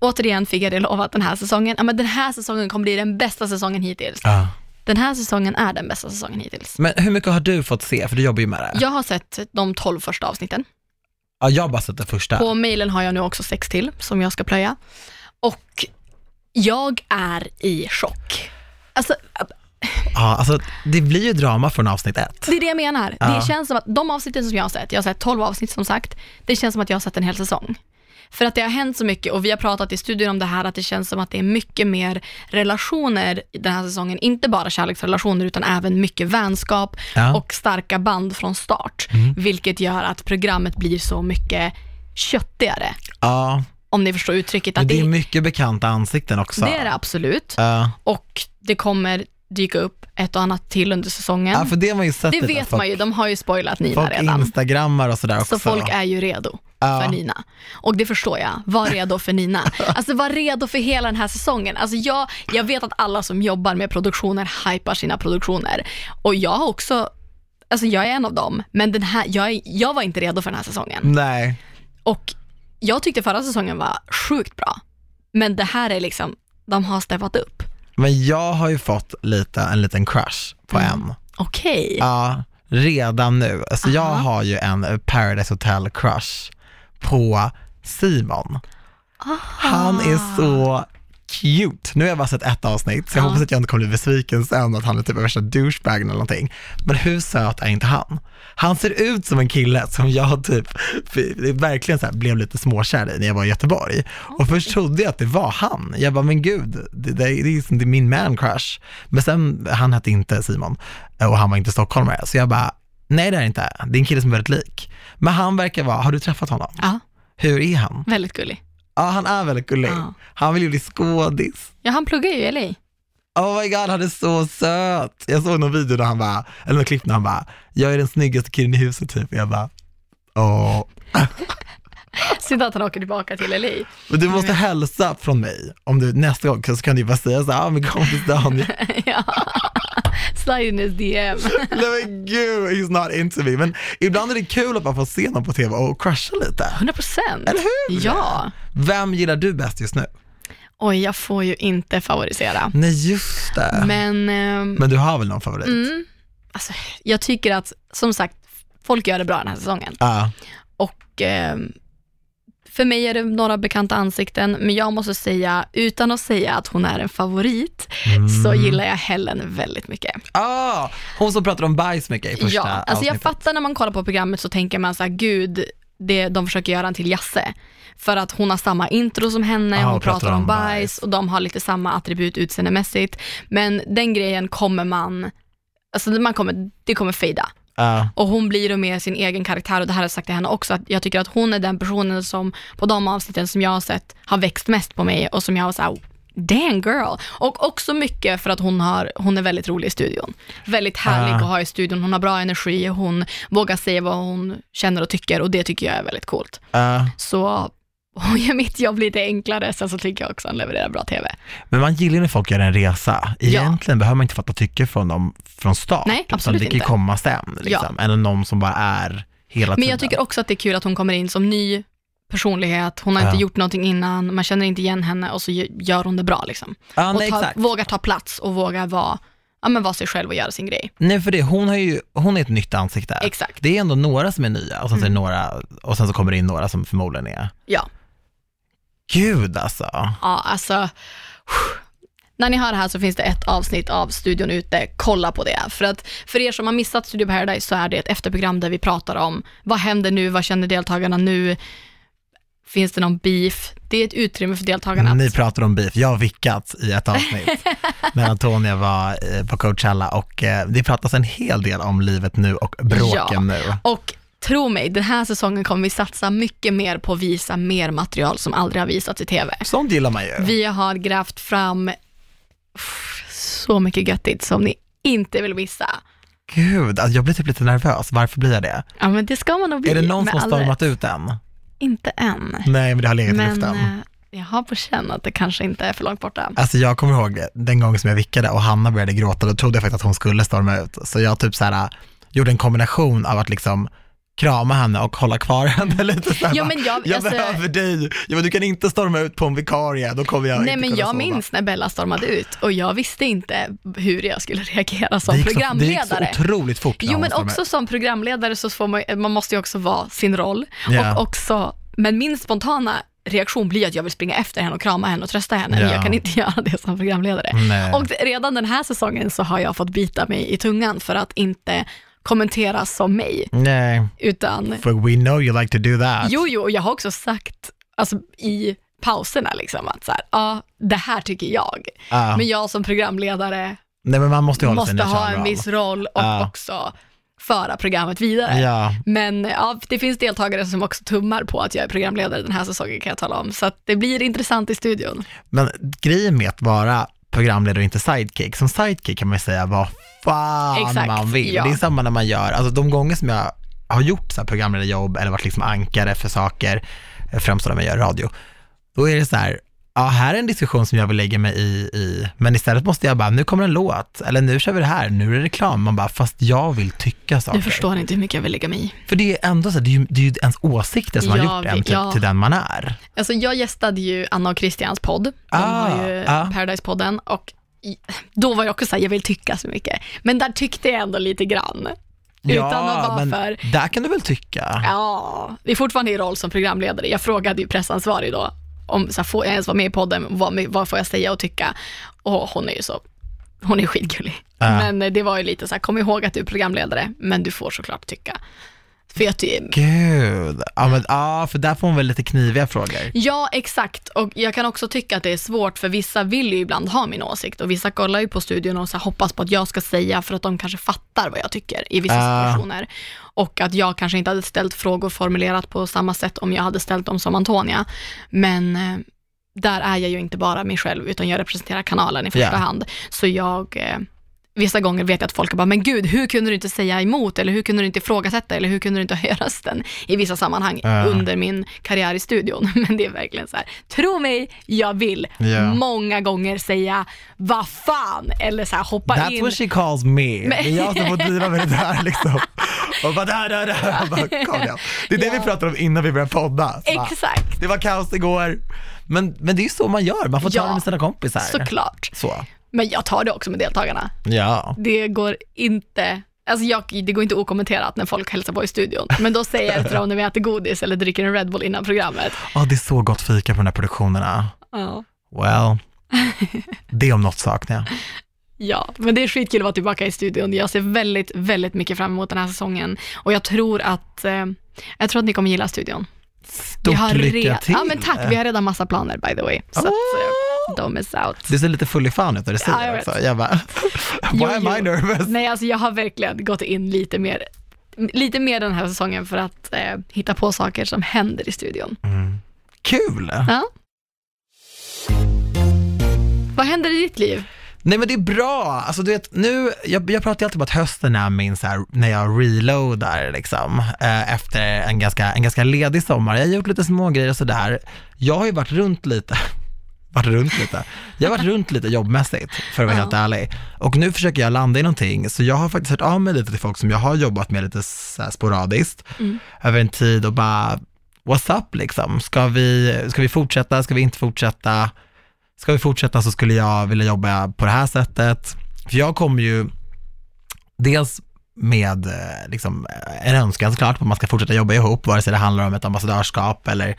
återigen fick jag det lovat den här säsongen. Ja, men den här säsongen kommer bli den bästa säsongen hittills.
Ja.
Den här säsongen är den bästa säsongen hittills.
Men hur mycket har du fått se? För du jobbar ju med det.
Jag har sett de 12 första avsnitten.
Ja, jag har bara sett det första.
På mejlen har jag nu också sex till som jag ska plöja. Och jag är i chock. Alltså,
Ja, alltså, det blir ju drama från avsnitt ett.
det är det jag menar.
Ja.
Det känns som att de avsnitten som jag har sett, jag har sett 12 avsnitt som sagt, det känns som att jag har sett en hel säsong. För att det har hänt så mycket och vi har pratat i studion om det här att det känns som att det är mycket mer relationer i den här säsongen. Inte bara kärleksrelationer utan även mycket vänskap
Ja. Mm.
och starka band från start. Vilket gör att programmet blir så mycket köttigare,
Ja,
om ni förstår uttrycket.
men
Att
det är
det,
mycket bekanta ansikten också.
det är det absolut.
Ja.
Och det kommer dyka upp ett och annat till under säsongen.
ja, för det har man ju sett
det
lite.
vet
folk,
man ju, de har ju spoilat Nina
Folk
redan.
instagrammar och sådär också.
Så folk är ju redo
Ja.
för Nina. Och det förstår jag. Var redo för Nina. Alltså var redo för hela den här säsongen. Alltså jag, jag vet att alla som jobbar med produktioner hypar sina produktioner. Och jag har också, alltså jag är en av dem, men den här, jag, är, jag var inte redo för den här säsongen.
Nej.
Och jag tyckte förra säsongen var sjukt bra. Men det här är liksom, de har steppat upp.
Men jag har ju fått lite, en liten crush på
Mm.
en.
Okej.
Ja, redan nu. Alltså jag har ju en Paradise Hotel crush på Simon. Han
Ah.
är så cute. Nu har jag bara sett ett avsnitt, så jag
Ja.
hoppas att jag inte kommer bli besviken sen att han är typ värsta douchebagen eller någonting. Men hur söt är inte han? Han ser ut som en kille som jag typ, verkligen så här, blev lite småkär i när jag var i Göteborg. Och först trodde jag att det var han. Jag bara, men gud, det, det, det är liksom det är min man crush. Men sen, han hette inte Simon eh, och han var inte stockholmare, så jag bara, nej det är det inte. Det är en kille som är väldigt lik. Men han verkar vara, har du träffat honom?
Ja,
Hur är han?
väldigt gullig.
Ja, han är väldigt gullig.
Ja.
Han vill ju bli skådis.
Ja, han pluggar ju i LA.
Oh my god, han är så söt. Jag såg någon video där han bara, eller någon klipp när han bara, jag är den snyggaste killen i huset typ. Och jag bara, åh.
Synd att han åker tillbaka till LA.
Men du måste hälsa från mig om du nästa gång, så kan du ju bara säga så här, ah, min kompis Daniel.
ja. Slide in his DM.
Nej men gud, he's not into me. Men ibland är det kul att man får se någon på tv och crusha lite.
100 procent.
Eller hur?
Ja.
Vem gillar du bäst just nu?
Oj, jag får ju inte favorisera.
Nej just det. Men,
Men ehm,
du har väl någon favorit?
mm, alltså, jag tycker att, som sagt, folk gör det bra den här säsongen.
Ja.
Och ehm, för mig är det några bekanta ansikten, men jag måste säga, utan att säga att hon är en favorit, så gillar jag Helen väldigt mycket.
Mm. Ah, hon som pratar om bajs mycket i första
ja, alltså jag
avsnittet.
fattar när man kollar på programmet så tänker man så här, gud, det, de försöker göra han till Jasse. För att hon har samma intro som henne,
Ja,
hon pratar om bajs, och de har lite samma attribut utseendemässigt. Men den grejen kommer man, alltså man kommer, det kommer fejda.
Ja.
Och hon blir då mer sin egen karaktär och det här har jag sagt till henne också, att jag tycker att hon är den personen som på de avsnitten som jag har sett har växt mest på mig och som jag har så här, "Oh, Damn girl! Och också mycket för att hon, har, hon är väldigt rolig i studion. Väldigt härlig
Ah.
att ha i studion, hon har bra energi, uh. hon vågar säga vad hon känner och tycker och det tycker jag är väldigt coolt.
ja.
Så och gör mitt jobb lite enklare. Sen så tycker jag också att han levererar bra TV.
Men man gillar när folk gör en resa. Egentligen behöver man inte fatta tycke från dem från start.
Nej,
utan
absolut
Det kan ju
inte.
komma sen, liksom. eller någon som bara är hela
Men
tiden.
jag tycker också att det är kul att hon kommer in som ny personlighet. Hon har
Ja.
inte gjort någonting innan, man känner inte igen henne och så gö- gör hon det bra. Liksom.
ja,
och
nej,
ta,
exakt.
vågar ta plats och vågar vara, ja, men vara sig själv och göra sin grej.
nej, för det, hon, har ju, hon är ett nytt ansikte.
Exakt. Mm.
Det är ändå några som är nya och sen, så är det några, och sen så kommer det in några som förmodligen är,
Ja.
gud alltså.
Ja, alltså. När ni hör det här så finns det ett avsnitt av studion ute. Kolla på det. För att för er som har missat Studio Paradise så är det ett efterprogram där vi pratar om vad händer nu, vad känner deltagarna nu, finns det någon beef? Det är ett utrymme för deltagarna.
Ni pratar om beef, jag har vickat i ett avsnitt när Antonia var eh, på Coachella och eh, det pratas en hel del om livet nu och bråken
Ja.
nu.
Och tro mig, den här säsongen kommer vi satsa mycket mer på att visa mer material som aldrig har visats i TV.
Sånt gillar man ju.
Vi har grävt fram pff, så mycket göttigt som ni inte vill missa.
Gud, alltså jag blir typ lite nervös, varför blir jag det?
Ja men det ska man nog bli.
är det någon
med
som har
all
stormat
rätt.
ut den?
Inte än.
Nej, men det har legat i
Men
luften.
eh, jag har på känn att det kanske inte är för långt borta.
Alltså jag kommer ihåg den gången som jag vickade och Hanna började gråta, då trodde jag faktiskt att hon skulle storma ut. Så jag typ så här, gjorde en kombination av att liksom krama henne och hålla kvar henne lite så här,
Ja,
bara,
men jag-
jag
alltså-
behöver dig, jag bara, du kan inte storma ut på en vikarie, då kommer jag
Nej
inte
men
kunna
jag
sova.
minns när Bella stormade ut och jag visste inte hur jag skulle reagera som
det gick Så, det
programledare.
gick så otroligt fort när
jo
hon
men
stormade
också som programledare så får man, man måste ju också vara sin roll.
Ja.
Och också, men min spontana reaktion blir att jag vill springa efter henne och krama henne och trösta henne. Men
Ja.
Jag kan inte göra det som programledare.
ut. Nej.
Och det- redan den här säsongen så har jag fått bita mig i tungan för att inte kommentera som mig,
Nej,
utan
för we know you like to do that.
Jo, jo, och jag har också sagt alltså, i pauserna liksom, att så här, ja, det här tycker jag.
Ja.
Men jag som programledare
Ah. Nej men man måste ju hålla sig
måste ha en
neutral.
viss roll och
Ja.
också föra programmet vidare.
Ja,
Men ja, det finns deltagare som också tummar på att jag är programledare den här säsongen kan jag tala om. Så att det blir intressant i studion.
men grejen med att vara programledare och inte sidekick, som sidekick kan man ju säga vad fan
Exakt,
man vill.
ja.
Det är samma när man gör, alltså de gånger som jag har gjort så här programledarjobb eller varit liksom ankare för saker, eh, främst då när man gör radio, då är det så här, ja här är en diskussion som jag vill lägga mig i, i, men istället måste jag bara, nu kommer en låt, eller nu kör vi det här, nu är det reklam, man bara, fast jag vill tycka saker.
Du förstår inte hur mycket jag vill lägga mig i.
För det är ändå så här, det är ju, det är ju ens åsikter som
Ja,
har gjort en
vi-
till,
ja.
till den man är.
Alltså jag gästade ju Anna och Christians podd, de
Ah,
har ju
ah.
Paradise-podden och i- då var jag också såhär, jag vill tycka så mycket. Men där tyckte jag ändå lite grann. Utan att vara
men
för,
där kan du väl tycka.
ja, det är fortfarande i roll som programledare. Jag frågade ju pressansvarig då, om så här, får jag ens vara med i podden, vad, vad får jag säga och tycka? Och hon är ju så, hon är skitgullig.
Ja.
Men eh, det var ju lite så här, kom ihåg att du är programledare, men du får såklart tycka. För jag ty-
Gud, ja,
Mm.
men, ja för där får hon väl lite kniviga frågor.
Ja, exakt. Och jag kan också tycka att det är svårt, för vissa vill ju ibland ha min åsikt och vissa kollar ju på studion och så här hoppas på att jag ska säga för att de kanske fattar vad jag tycker i vissa
Ah.
situationer. Och att jag kanske inte hade ställt frågor formulerat på samma sätt om jag hade ställt dem som Antonia. Men eh, där är jag ju inte bara mig själv, utan jag representerar kanalen i första
Ja.
hand. Så jag... Eh, Vissa gånger vet jag att folk bara, men gud, hur kunde du inte säga emot? Eller hur kunde du inte ifrågasätta? Eller hur kunde du inte höja rösten? I vissa sammanhang
Ja.
under min karriär i studion. Men det är verkligen så här, tro mig, jag vill
Ja.
många gånger säga, vad fan? Eller så här, hoppa
That's
in.
what she calls me. Det är jag som får driva med det här liksom. Och bara där, där, där. Jag Bara, kom igen. Det är det vi pratade om innan vi började podda. Så bara,
Exakt,
Det var kaos igår. Men, men det är ju så man gör, man får ta
Ja,
det med sina kompisar.
såklart.
Så.
Men jag tar det också med deltagarna.
Ja.
Det går inte, alltså jag, det går inte okommenterat när folk hälsar på i studion. Men då säger jag till dem när vi äter godis eller dricker en Red Bull innan programmet.
ja, det är så gott fika på de här produktionerna.
Ja.
Well, det om något saknar jag.
Ja, men det är skitkul att vara tillbaka i studion. Jag ser väldigt, väldigt mycket fram emot den här säsongen och jag tror att, eh, jag tror att ni kommer gilla studion. Vi
Stort lycka
red-
till. Ah.
Ja, men tack. Vi har redan massa planer by the way. Så att, eh, don't miss out.
Du ser lite full i fan ut när du säger
Ja, jag
det
vet.
också. Jag bara,
Jo,
why am I
jo.
nervous?
Nej, alltså jag har verkligen gått in lite mer, lite mer den här säsongen för att eh, hitta på saker som händer i studion.
Mm. Kul!
Ja. Vad händer i ditt liv?
Nej men det är bra, alltså du vet nu, jag, jag pratar ju alltid om att hösten är min så här, när jag reloadar liksom, eh, efter en ganska, en ganska ledig sommar. Jag har gjort lite smågrejer och sådär. Jag har ju varit runt lite, varit runt lite. Jag har varit runt lite jobbmässigt, för att vara
Ja.
helt ärlig. Och nu försöker jag landa i någonting, så jag har faktiskt hört av mig lite till folk som jag har jobbat med lite så här sporadiskt, över en tid och bara, what's up liksom? Ska vi, ska vi fortsätta, ska vi inte fortsätta? ska vi fortsätta så skulle jag vilja jobba på det här sättet. För jag kommer ju dels med eh, liksom, eh, en önskan såklart på att man ska fortsätta jobba ihop, vare sig det handlar om ett ambassadörskap eller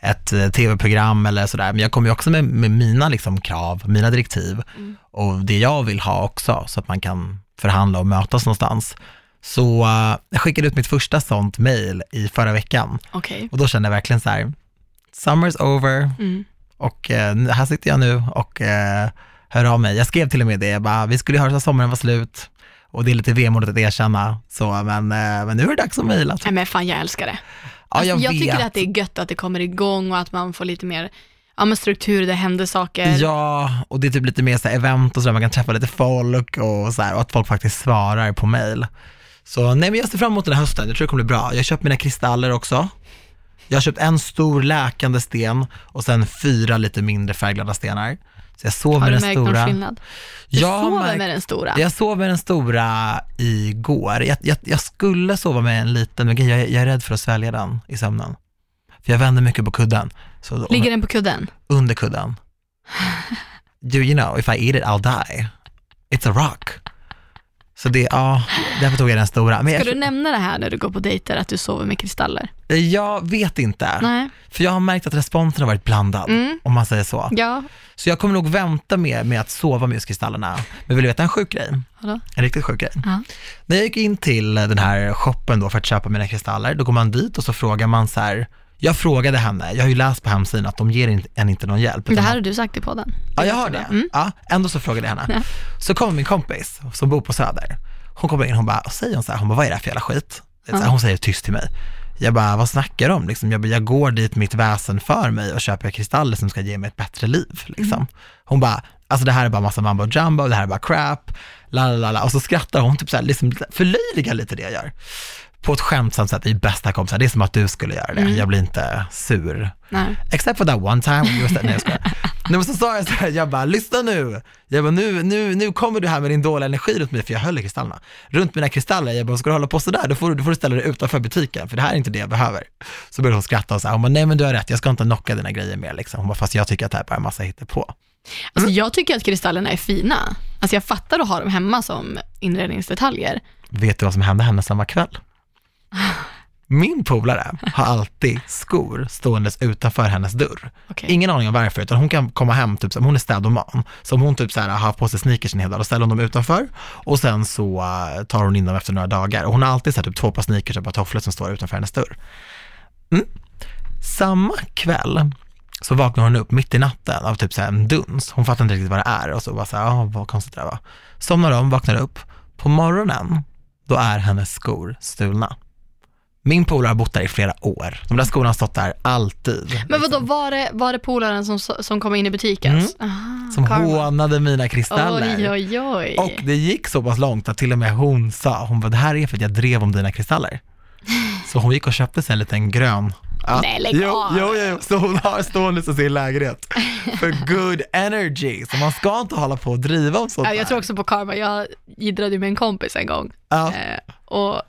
ett eh, tv-program eller sådär. Men jag kommer ju också med, med mina liksom, krav, mina direktiv och det jag vill ha också, så att man kan förhandla och mötas någonstans. Så eh, jag skickade ut mitt första sånt mail i förra veckan
Okej.
och då kände jag verkligen så här, summer's over,
Mm.
och eh, nu- här sitter jag nu och eh, hör av mig. Jag skrev till och med det, jag bara, vi skulle ju höras när sommaren var slut och det är lite vemodigt att erkänna, så, men, eh, men nu är det dags att mejla.
Nej men fan jag älskar det.
Ja, jag,
alltså, jag
vet.
tycker att det är gött att det kommer igång och att man får lite mer ja, men struktur, det händer saker.
Ja, och det är typ lite mer så här event och sådär, man kan träffa lite folk och så här, och att folk faktiskt svarar på mejl. Så nej, men jag ser fram emot den här hösten, jag tror det kommer bli bra. Jag har köpt mina kristaller också. Jag har köpt en stor läkande sten och sen fyra lite mindre färgglada stenar. Så jag sov
Har
med
du
den
märkt någon
stora.
skillnad? Du
Jag har
sover
märkt-
med den stora.
Jag sov med den stora igår. Jag, jag, jag skulle sova med en liten, men jag, jag är rädd för att svälja den i sömnen. För jag vänder mycket på kudden. Så
Ligger den på kudden?
Under kudden. Do you know, if I eat it I'll die. It's a rock. Så det, ja, därför tog jag den stora. Men
Ska
jag,
du nämna det här när du går på dejter, att du sover med kristaller?
jag vet inte,
Nej.
för jag har märkt att responsen har varit blandad,
Mm.
om man säger så.
Ja.
Så jag kommer nog vänta med, med att sova med just kristallerna. Men vill du veta en sjuk grej?
Vadå?
En riktigt sjuk grej.
Ja.
När jag gick in till den här shoppen då för att köpa mina kristaller, då går man dit och så frågar man så här, jag frågade henne, jag har ju läst på hemsidan att de ger in- en inte någon hjälp.
Det
utan
här har du sagt i podden.
Ja, jag har det.
Mm.
Ja, ändå så frågade jag henne.
Ja.
Så kommer min kompis som bor på Söder. Hon kommer in hon bara, och säger hon så här, hon bara, vad är det här för jävla skit? Det är Så här,
Ja.
hon säger tyst till mig. Jag bara, vad snackar du om? Liksom, jag, bara, jag går dit mitt väsen för mig och köper kristaller som ska ge mig ett bättre liv. Liksom.
Mm.
Hon bara, alltså det här är bara massa mambo jumbo, det här är bara crap, la la la la. Och så skrattar hon, typ så här, liksom, förlöjligar lite det jag gör. På ett skämtsamt sätt, i bästa kompisar, det är som att du skulle göra det.
Mm.
Jag blir inte sur.
Nej.
Except for that one time when you was... Nej jag skojar. Nej men så sa jag så här, jag bara lyssna nu. Jag bara nu, nu, nu kommer du här med din dåliga energi runt mig för jag höll i kristallerna. Runt mina kristaller, jag bara ska du hålla på sådär då får du, då får du ställa dig utanför butiken för det här är inte det jag behöver. Så började hon skratta och så här, hon bara nej men du har rätt, jag ska inte knocka dina grejer mer liksom. Hon bara fast jag tycker att det här bara är massa hittepå.
Alltså,
Mm.
jag tycker att kristallerna är fina. Alltså, jag fattar att ha dem hemma som inredningsdetaljer.
Vet du vad som hände henne samma kväll? Min polare har alltid skor ståendes utanför hennes dörr.
Okej.
Ingen aning om varför, utan hon kan komma hem, typ, som hon är städoman, så om hon typ så här, har haft på sig sneakers en hel dag, då ställer hon dem utanför och sen så eh, tar hon in dem efter några dagar. Och hon har alltid så här, typ två par sneakers och ett par tofflor som står utanför hennes dörr. Mm. Samma kväll så vaknar hon upp mitt i natten av typ så här en duns. Hon fattar inte riktigt vad det är och så bara så här, ah, vad konstigt det där var. Somnar om, vaknar upp. På morgonen, då är hennes skor stulna. Min polare har bott där i flera år. De där skorna har stått där alltid.
Men vadå, var det, var det polaren som, som kom in i butiken?
Mm.
Aha,
som
karma.
hånade mina kristaller.
Oj, oj, oj.
Och det gick så pass långt att till och med hon sa, hon bara, det här är för att jag drev om dina kristaller. Så hon gick och köpte sig en liten grön. Ja.
Nej, lägg
jo,
av.
jo, jo, så hon har stående i sin lägenhet för good energy. Så man ska inte hålla på och driva om sånt
Ja, jag
här.
tror också på karma. Jag jiddrade ju med en kompis en gång
ja.
eh, och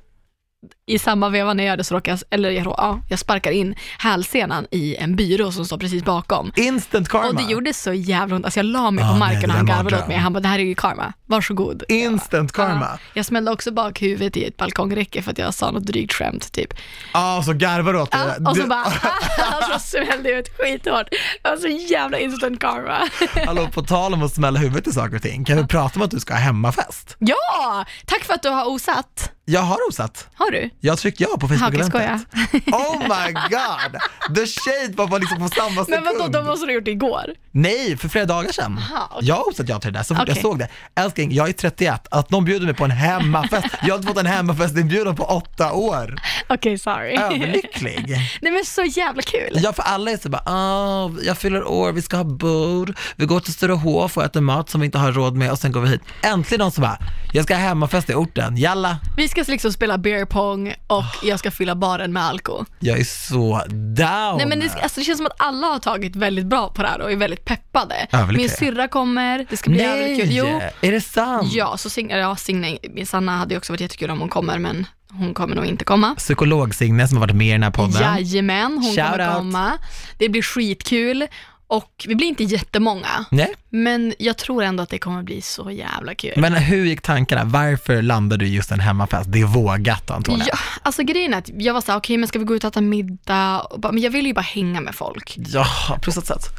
i samma veva när jag gör det så råkar jag, eller jag, rå- ja, jag sparkar in hälsenan i en byrå som står precis bakom.
Instant karma.
Och det gjorde så jävla ont. Alltså jag la mig på
Ah,
marken
nej, det
och
där
han
är en
garvade åt
mardröm.
mig. Han bara, det här är ju karma. Varsågod.
Instant karma.
Ja. Jag smällde också bak huvudet i ett balkongräcke för att jag sa något drygt skämt typ.
Ja, så garvar du åt
Ja,
det.
och så
Du-
bara, alltså smällde jag ut skithårt. Alltså jävla instant karma.
Hallå, på tal om att smälla huvudet i saker och ting, kan vi prata om att du ska ha hemmafest?
ja, tack för att du har osatt.
Jag har osatt.
Har du?
Jag tryckte ja på
Hauke
Facebook-eventet.
skojar.
Oh my god! The shade var bara liksom på samma
Men
sekund.
vadå, de måste ha gjort det igår?
Nej, för flera dagar sedan.
Aha, okej.
Jag har också ja till det där, så fort jag
Okej.
såg det. Älskling, jag är 31, att någon bjuder mig på en hemmafest. Jag har inte fått en hemmafestinbjudan på åtta år.
Okej, sorry.
Överlycklig.
Nej men så jävla kul.
Ja, för alla är så bara, ah, jag fyller år, vi ska ha bord, vi går till Sturehof och äter mat som vi inte har råd med och sen går vi hit. Äntligen någon som bara, jag ska ha hemmafest i orten, jalla.
Vi ska liksom spela beer pong och jag ska fylla baren med alkohol.
Jag är så down.
Nej men det, alltså, det känns som att alla har tagit väldigt bra på det här och är väldigt peppade.
Överlycklig.
Min syrra kommer, det ska bli jävligt kul. Jo,
Nej, är det sant?
ja, så Signe, ja, Signe, min Sanna hade ju också varit jättekul om hon kommer men hon kommer nog inte komma.
Psykolog-Signe som har varit med i den här podden.
Jajamän, hon
Shout
kommer
out.
komma. Det blir skitkul och vi blir inte jättemånga.
Nej,
Men jag tror ändå att det kommer bli så jävla kul.
men hur gick tankarna? Varför landade du just en hemmafest? Det är vågat Antonija.
Ja, alltså grejen är att jag var såhär, okej men ska vi gå ut och äta middag? Och bara, men jag vill ju bara hänga med folk.
Ja, plus att, så att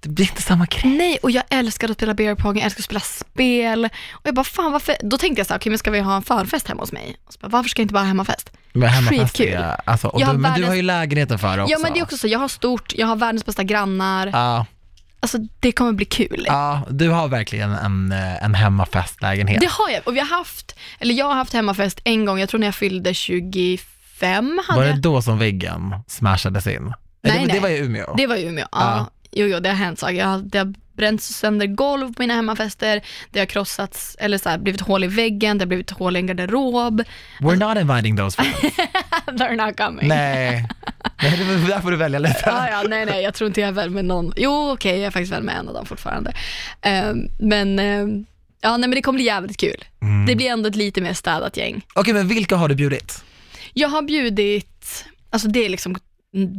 det blir inte samma grej.
Nej, och jag älskar att spela beer pong, jag älskar att spela spel. Och jag bara, fan varför? Då tänkte jag såhär, okej men ska vi ha en förfest hemma hos mig? Och så bara, varför ska jag inte bara ha hemmafest?
Men hemmafest
Skitkul.
är, alltså, och
Jag
du,
har
men du
världens-
har ju lägenheten för det också.
Ja men det är också så, jag har stort, jag har världens bästa grannar.
Ja,
Alltså det kommer bli kul.
ja, du har verkligen en, eh, en hemmafestlägenhet.
Det har jag, och vi har haft, eller jag har haft hemmafest en gång, jag tror när jag fyllde 25 hade
Var det
jag.
då som väggen smashades in? Nej, det,
Nej,
det
nej.
var i Umeå.
Det var i Umeå. Ja.
Ja.
Jo, jo, det har hänt saker. Jag har, det har bränts sönder golv på mina hemmafester, det har krossats, eller så här, blivit hål i väggen, det har blivit hål i en garderob.
We're not inviting those friends.
They're not coming.
nej. nej, det var- där får du välja lite.
Ja, ja, nej, nej, jag tror inte jag är väl med någon. Jo, okej, jag är faktiskt väl med en av dem fortfarande. Ehm, men, ehm, ja, nej, men det kommer bli jävligt kul. Det blir ändå ett lite mer städat gäng.
Okej, men vilka har du bjudit?
Jag har bjudit, alltså det är liksom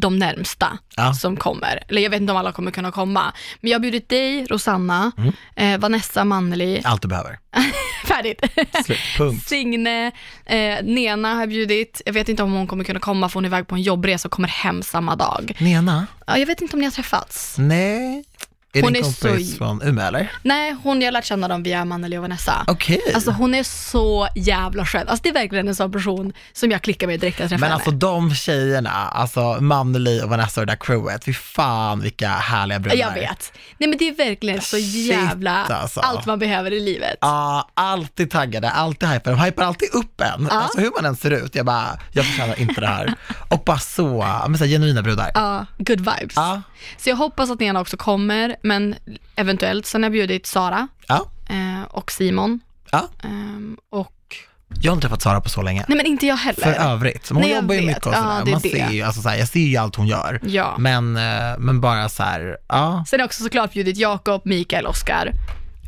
de närmsta
Ja.
som kommer. Eller jag vet inte om alla kommer kunna komma. Men jag har bjudit dig, Rosanna, eh, Vanessa Manneli,
Allt du behöver.
färdigt.
Slut. Punkt.
Signe, eh, Nena har jag bjudit. Jag vet inte om hon kommer kunna komma för hon är iväg på en jobbresa och kommer hem samma dag.
Nena?
Ja, jag vet inte om ni har träffats.
Nej. Är
Hon
din
är
kompis
så-
från Umeå eller?
Nej, hon jag har lärt känna dem via Maneli och Vanessa.
Okej.
Alltså hon är så jävla skön. Alltså det är verkligen en sån person som jag klickar med direkt när jag träffar
Men
henne.
alltså de tjejerna, alltså Maneli och Vanessa och det där crewet, fy fan vilka härliga brudar.
Jag vet. Nej men det är verkligen så
Shit,
jävla
alltså.
allt man behöver i livet.
Ja, alltid taggade, alltid hypade. De hypar alltid upp en. Alltså hur man än ser ut, jag bara, jag förtjänar inte det här. Och bara så, men så här, genuina brudar.
Ja, good vibes.
Ja,
Så jag hoppas att Nena också kommer, men eventuellt. Sen har jag bjudit Sara
ja,
eh, och Simon.
ja.
ehm, och,
Jag har inte träffat Sara på så länge.
nej men inte jag heller.
För övrigt, men hon
Nej, jag
jobbar ju
vet.
mycket och
Ja,
sådär.
det är
Man
det.
ser ju, alltså, så här, jag ser ju allt hon gör.
Ja.
Men, eh, men bara så här, ja.
Sen har jag också såklart bjudit Jakob, Mikael, Oskar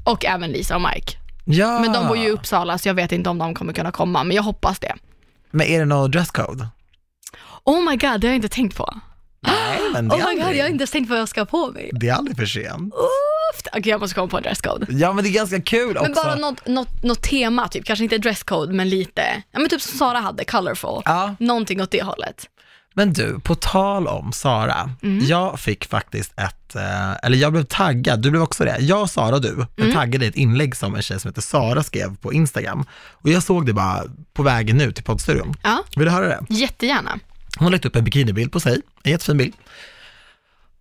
och även Lisa och Mike.
ja.
Men de bor
Ah.
ju i Uppsala så jag vet inte om de kommer kunna komma, men jag hoppas det.
Men är det någon dresscode?
Oh my god, det har jag inte tänkt på.
Nej, men det är,
Oh my god,
aldrig,
jag har inte ens tänkt på vad jag ska ha på mig.
det är aldrig för sent.
Oof, Okej, jag måste komma på en dresscode.
Ja men det är ganska kul
Men
också.
bara något, något, något tema, typ. kanske inte dresscode, men lite, ja men typ som Sara hade, colorful.
Ja,
Någonting åt det hållet.
men du, på tal om Sara,
Mm.
jag fick faktiskt ett, eh, eller jag blev taggad, du blev också det. Jag, Sara och du blev
Mm.
taggade i ett inlägg som en tjej som heter Sara skrev på Instagram. Och jag såg det bara på vägen nu till poddstudion.
Ja,
Vill du höra det?
jättegärna.
Hon har lagt upp en bikinibild på sig, en jättefin bild,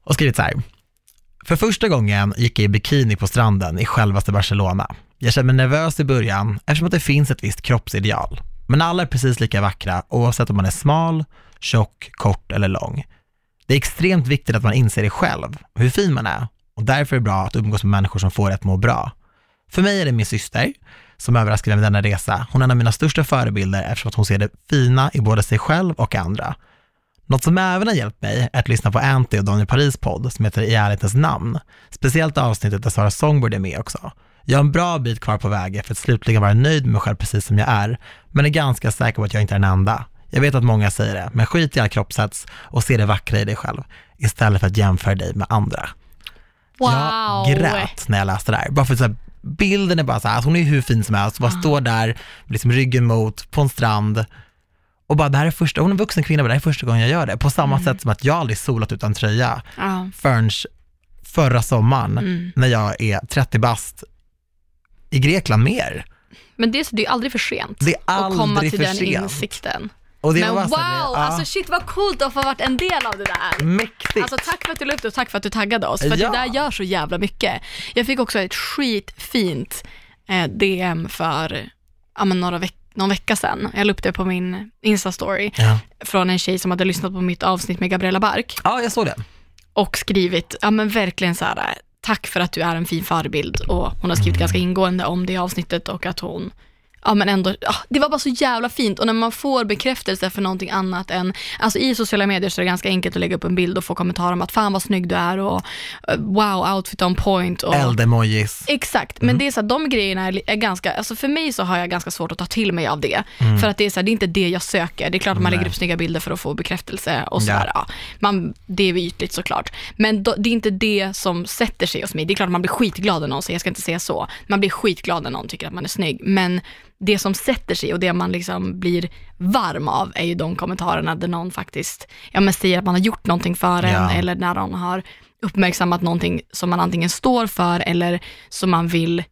och skrivit så här. För första gången gick jag i bikini på stranden i självaste Barcelona. Jag kände mig nervös i början eftersom att det finns ett visst kroppsideal. Men alla är precis lika vackra oavsett om man är smal, tjock, kort eller lång. Det är extremt viktigt att man inser det själv, hur fin man är och därför är det bra att umgås med människor som får ett må bra. För mig är det min syster som överraskade mig med denna resa. Hon är en av mina största förebilder eftersom att hon ser det fina i både sig själv och andra. Något som även har hjälpt mig är att lyssna på Anty och Daniel Paris podd som heter I ärlighetens namn. Speciellt avsnittet där Sara Songbird är med också. Jag har en bra bit kvar på vägen för att slutligen vara nöjd med mig själv precis som jag är, men är ganska säker på att jag inte är den enda. Jag vet att många säger det, men skit i all kroppshets och se det vackra i dig själv istället för att jämföra dig med andra.
Wow.
Jag grät när jag läste det här. Bara för att så här, bilden är bara så här, alltså hon är ju hur fin som helst, bara
Ah.
står där, liksom ryggen mot, på en strand. Och bara det här är första, hon är en vuxen kvinna, men det här är första gången jag gör det. På
Mm.
samma sätt som att jag aldrig solat utan tröja
Ja.
förrän förra sommaren
Mm.
när jag är 30 bast i Grekland mer.
Men det, är så- det är aldrig för sent
Det är
att komma
aldrig
till
för
den
sent.
insikten.
Och det
Men
var
wow,
wow,
alltså shit vad coolt att få varit en del av det där.
Mäktigt.
Alltså tack för att du la upp det och tack för att du taggade oss, för att
Ja.
det där gör så jävla mycket. Jag fick också ett skitfint eh, DM för ja, men några veck- någon vecka sedan. Jag la upp det på min Insta-story
ja.
från en tjej som hade lyssnat på mitt avsnitt med Gabriella Bark
ja, jag såg det.
och skrivit, ja men verkligen så här, tack för att du är en fin förebild och hon har skrivit ganska ingående om det avsnittet och att hon Ja men ändå, ja, det var bara så jävla fint och när man får bekräftelse för någonting annat än, alltså i sociala medier så är det ganska enkelt att lägga upp en bild och få kommentarer om att fan vad snygg du är och eh, wow outfit on point och
Eldemojis.
Exakt, men
Mhm.
det är så här, de grejerna är, li- är ganska, alltså för mig så har jag ganska svårt att ta till mig av det. För att det är så här, det är inte det jag söker. Det är klart att man
Mm. Nej.
lägger upp snygga bilder för att få bekräftelse och så
Ja.
här, ja. man, det är ytligt såklart. Men då, det är inte det som sätter sig hos mig. Det är klart att man blir skitglad när någon säger, jag ska inte säga så, man blir skitglad när någon tycker att man är snygg. Men det som sätter sig och det man liksom blir varm av är ju de kommentarerna där någon faktiskt ja, men säger att man har gjort någonting för en
Ja.
eller eller när någon har uppmärksammat någonting som man antingen står för eller som man vill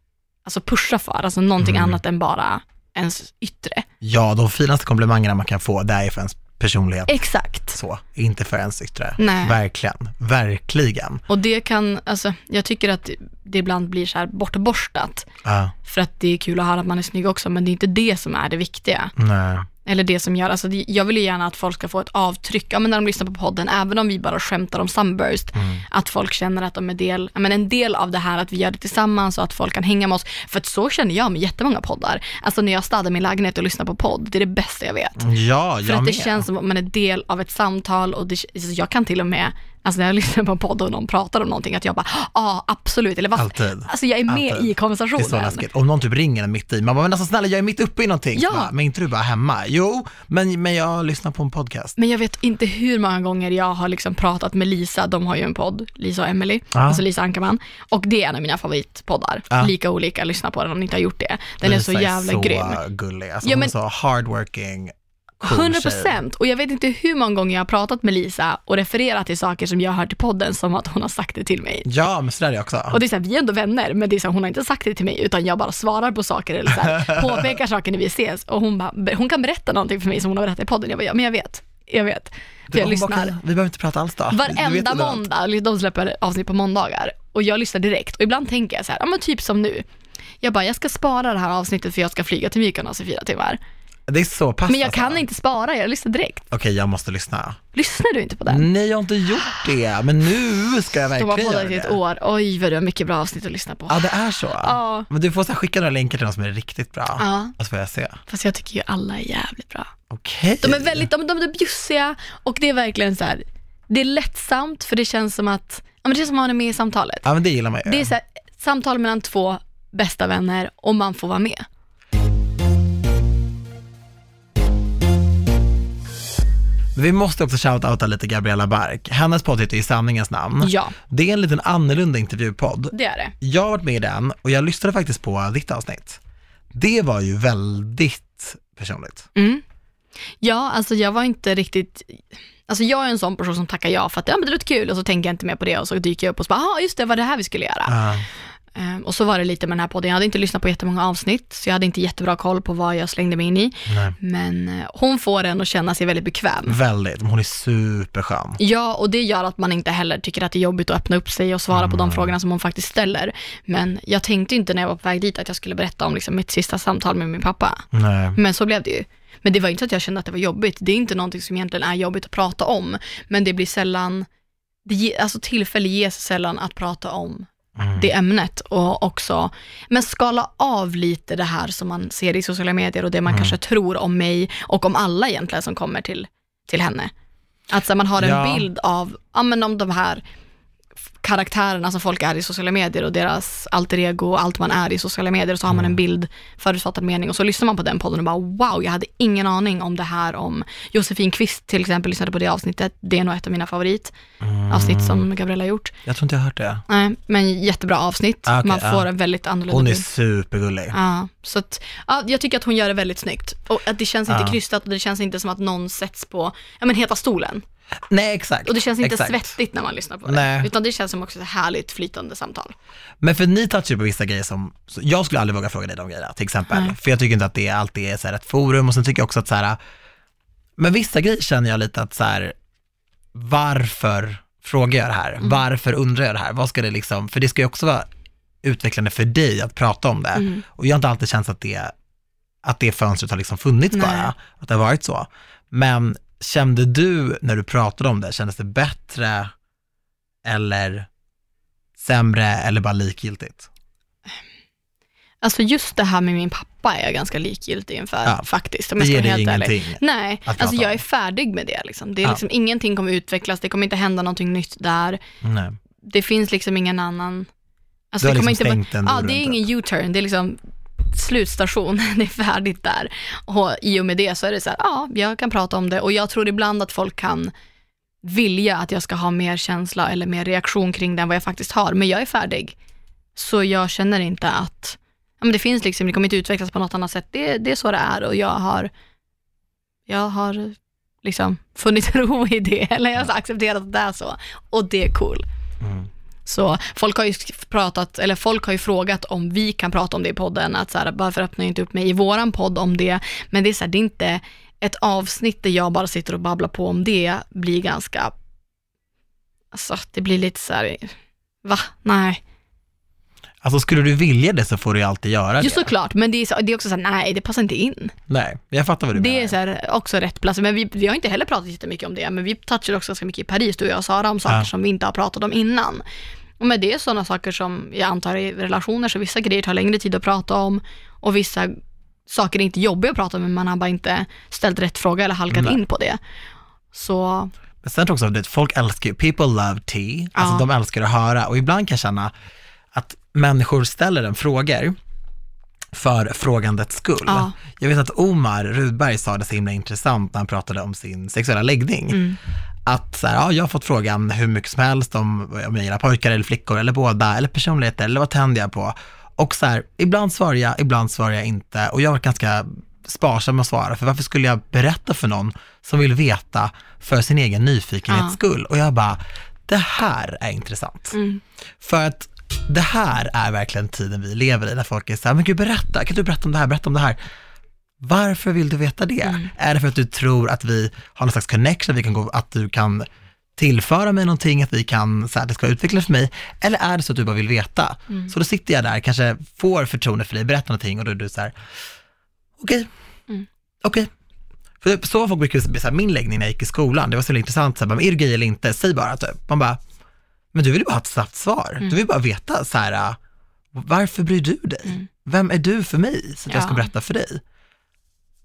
alltså pusha för, alltså någonting annat än bara ens yttre.
Ja, de finaste komplimangerna man kan få, det är ju för ens personlighet.
Exakt.
Så, inte för ens yttre.
Nej.
Verkligen, verkligen.
Och det kan, alltså jag tycker att det ibland blir så här bortborstat
Ja,
för att det är kul att höra att man är snygg också, men det är inte det som är det viktiga.
nej.
Eller det som gör, alltså det- jag vill ju gärna att folk ska få ett avtryck, ja men när de lyssnar på podden, även om vi bara skämtar om Sunburst,
Mm.
att folk känner att de är del, ja, men en del av det här, att vi gör det tillsammans och att folk kan hänga med oss. För att så känner jag med jättemånga poddar. Alltså när jag städar min lägenhet och lyssnar på podd, det är det bästa jag vet.
Ja, Mm. jag
För att
med.
det känns som att man är del av ett samtal och det, alltså jag kan till och med, alltså när jag lyssnar på en podd och någon pratar om någonting, att jag bara, ja ah, absolut, eller vad,
Alltid.
alltså jag är med
Alltid.
i
Det är så
konversationen.
läskigt. Om någon typ ringer en mitt i, man bara, men alltså snälla jag är mitt uppe i någonting.
Ja.
Bara, men inte du bara hemma? Jo, men, men jag lyssnar på en podcast.
Men jag vet inte hur många gånger jag har liksom pratat med Lisa, de har ju en podd, Lisa och Emily,
Ja.
alltså Lisa Ankarman. Och det är en av mina favoritpoddar.
Ja.
Lika olika, lyssna på den om ni inte har gjort det. Den
Lisa
är så jävla
så
grym.
gullig. Alltså,
Ja,
hon är
men-
så hardworking, cool
100
tjej.
procent. Och jag vet inte hur många gånger jag har pratat med Lisa och refererat till saker som jag har hört i podden som att hon har sagt det till mig.
Ja, men sådär är jag också.
Och det är såhär, vi är ändå vänner, men det är såhär, hon har inte sagt det till mig, utan jag bara svarar på saker eller såhär, påpekar saker när vi ses. Och hon, bara, hon kan berätta någonting för mig som hon har berättat i podden. Jag bara, ja men jag vet, jag vet. För
Du,
jag
hon bara,
lyssnar.
"Kalle, vi behöver inte prata alls då. Du vet
Varenda
inte vad."
måndag, de släpper avsnitt på måndagar och jag lyssnar direkt och ibland tänker jag så här, ja men typ som nu. Jag bara, jag ska spara det här avsnittet för jag ska flyga till Mykonos i fyra timmar.
Det är så pass
Men jag
alltså.
kan inte spara, jag lyssnar direkt.
Okej, jag måste lyssna.
Lyssnar du inte på den?
Nej, jag har inte gjort det, men nu ska jag
De har
verkligen göra
poddat i ett
det.
år, oj vad du har mycket bra avsnitt att lyssna på.
Ja, det är så.
Ja.
Men du får så här, skicka några länkar till någon som är riktigt bra.
Ja.
Och så får jag se.
Fast jag tycker ju alla är jävligt bra.
Okej.
De är väldigt, de, de är bjussiga och det är verkligen så här, det är lättsamt för det känns som att, ja men det känns som att man är med i samtalet.
Ja, men det gillar man ju.
Det är så här, samtal mellan två bästa vänner och man får vara med.
Vi måste också shoutouta lite Gabriella Bark. Hennes podd heter ju Sanningens namn.
Ja.
Det är en liten annorlunda intervjupodd.
Det är det.
Jag har varit med i den och jag lyssnade faktiskt på ditt avsnitt. Det var ju väldigt personligt.
Mm. Ja, alltså jag var inte riktigt, alltså jag är en sån person som tackar ja för att ja, men det låter kul och så tänker jag inte mer på det och så dyker jag upp och så bara, ja just det, var det här vi skulle göra.
Ja.
Ehm, och så var det lite med den här podden, jag hade inte lyssnat på jättemånga avsnitt så jag hade inte jättebra koll på vad jag slängde mig in i.
nej.
Men eh, hon får en att känna sig väldigt bekväm.
Väldigt, men hon är superskön.
Ja, och det gör att man inte heller tycker att det är jobbigt att öppna upp sig och svara på de frågorna som hon faktiskt ställer. Men jag tänkte ju inte när jag var på väg dit att jag skulle berätta om liksom, mitt sista samtal med min pappa.
Nej.
Men så blev det ju. Men det var inte så att jag kände att det var jobbigt. Det är inte någonting som egentligen är jobbigt att prata om. Men det blir sällan, det ge, alltså tillfälle ges sällan att prata om
Mm.
det ämnet och också, men skala av lite det här som man ser i sociala medier och det
Mm.
man kanske tror om mig och om alla egentligen som kommer till, till henne. Att så här, man har en
Ja.
bild av, ja men om de här f- karaktärerna som folk är i sociala medier och deras alter ego och allt man är i sociala medier och så har
Mm.
man en bild, förutfattad mening och så lyssnar man på den podden och bara wow, jag hade ingen aning om det här om Josefin Kvist till exempel, lyssnade på det avsnitt det är nog ett av mina
Mm.
favoritavsnitt som Gabriella har gjort.
Jag tror inte jag har hört det.
Nej, men jättebra avsnitt.
Ah, okej,
man
ja.
får en väldigt annorlunda
Hon är
bild.
supergullig.
Ja, så att, ja, jag tycker att hon gör det väldigt snyggt. Och att det känns
Ja.
inte krystat och det känns inte som att någon sätts på ja, men heta stolen.
Nej, exakt.
Och det känns inte
exakt.
svettigt när man lyssnar på det.
Nej.
Utan det känns som också ett härligt flytande samtal.
Men för ni touchar ju på vissa grejer som, så jag skulle aldrig våga fråga dig de grejerna till exempel. För jag tycker inte att det alltid är så här ett forum och sen tycker jag också att så här, Men vissa grejer känner jag lite att så här, varför frågar jag det
Mm.
här? Varför undrar jag det här? Vad ska det liksom, för det ska ju också vara utvecklande för dig att prata om det.
Mm.
Och jag har inte alltid känt att det, att det fönstret har liksom funnits
Nej.
bara, att det har varit så. Men kände du när du pratade om det, kändes det bättre eller sämre eller bara likgiltigt?
Alltså just det här med min pappa är jag ganska likgiltig inför
Ja.
faktiskt. Om
Det
jag ska
ger
vara
dig
helt ärlig.
ingenting.
Nej,
prata
alltså jag
om.
är färdig med det. Liksom. Det är
Ja.
liksom, Ingenting kommer utvecklas, det kommer inte hända någonting nytt där.
Nej.
Det finns liksom ingen annan... Alltså,
Du har liksom
kommer vara-
stängt den
Ja,
dörren
det är
typ.
ingen U-turn, det är liksom slutstation, det är färdigt där. Och i och med det så är det så här, ja, jag kan prata om det och jag tror ibland att folk kan vilja att jag ska ha mer känsla eller mer reaktion kring det än vad jag faktiskt har, men jag är färdig. Så jag känner inte att, ja men det finns liksom, det kommer inte utvecklas på något annat sätt, det, det är så det är och jag har, jag har liksom funnit ro i det, eller jag har accepterat att det är så. Och det är cool.
Mm.
Så folk har ju sk- pratat, eller folk har ju frågat om vi kan prata om det i podden, att så här, varför öppnar jag inte upp mig i våran podd om det? Men det är så här, det är inte ett avsnitt där jag bara sitter och babblar på om det, blir ganska, alltså det blir lite så här, va? Nej.
Alltså skulle du vilja det så får du ju alltid göra
Jo
det.
såklart, men det är, så, det är också så här, nej det passar inte in.
Nej, jag fattar vad du
Det
menar.
är så här, också rätt plats, men vi, vi har inte heller pratat jättemycket om det, men vi touchade också ganska mycket i Paris, du och jag och Sara, om saker
Ja.
som vi inte har pratat om innan. Och med det är sådana saker som jag antar är relationer, så vissa grejer tar längre tid att prata om och vissa saker är inte jobbiga att prata om, men man har bara inte ställt rätt fråga eller halkat
Nej.
in på det. Så,
Men sen tror jag också att det- folk älskar ju, people love tea, alltså
Ja.
de älskar att höra och ibland kan jag känna att människor ställer en frågor för frågandets skull.
Ja.
Jag vet att Omar Rudberg sa det så himla intressant när han pratade om sin sexuella läggning.
Mm.
Att så här, ja, jag har fått frågan hur mycket som helst om, om jag gillar pojkar eller flickor eller båda eller personligheter eller vad tänder jag på? Och så här, ibland svarar jag, ibland svarar jag inte och jag har varit ganska sparsam med att svara för varför skulle jag berätta för någon som vill veta för sin egen nyfikenhets
Ja.
skull? Och jag bara, det här är intressant.
mm,
För att det här är verkligen tiden vi lever i, när folk är så här, men gud berätta, kan du berätta om det här, berätta om det här. Varför vill du veta det?
Mm.
Är det för att du tror att vi har någon slags connection, vi kan gå, att du kan tillföra mig någonting, att vi kan, så här, det ska utvecklas för mig, eller är det så att du bara vill veta?
Mm.
Så då sitter jag där, kanske får förtroende för dig, berättar någonting och då är du så här, okej,
Mm.
okej. För typ, så var folk brukar bli så här, min läggning när jag gick i skolan, det var så himla intressant, så här, bara, är du gay eller inte, säg bara typ. Man bara, men du vill ju bara ha ett snabbt svar.
Mm.
Du vill bara veta så här, äh, varför bryr du dig? Vem är du för mig så att jag ska
Mm. Ja.
berätta för dig?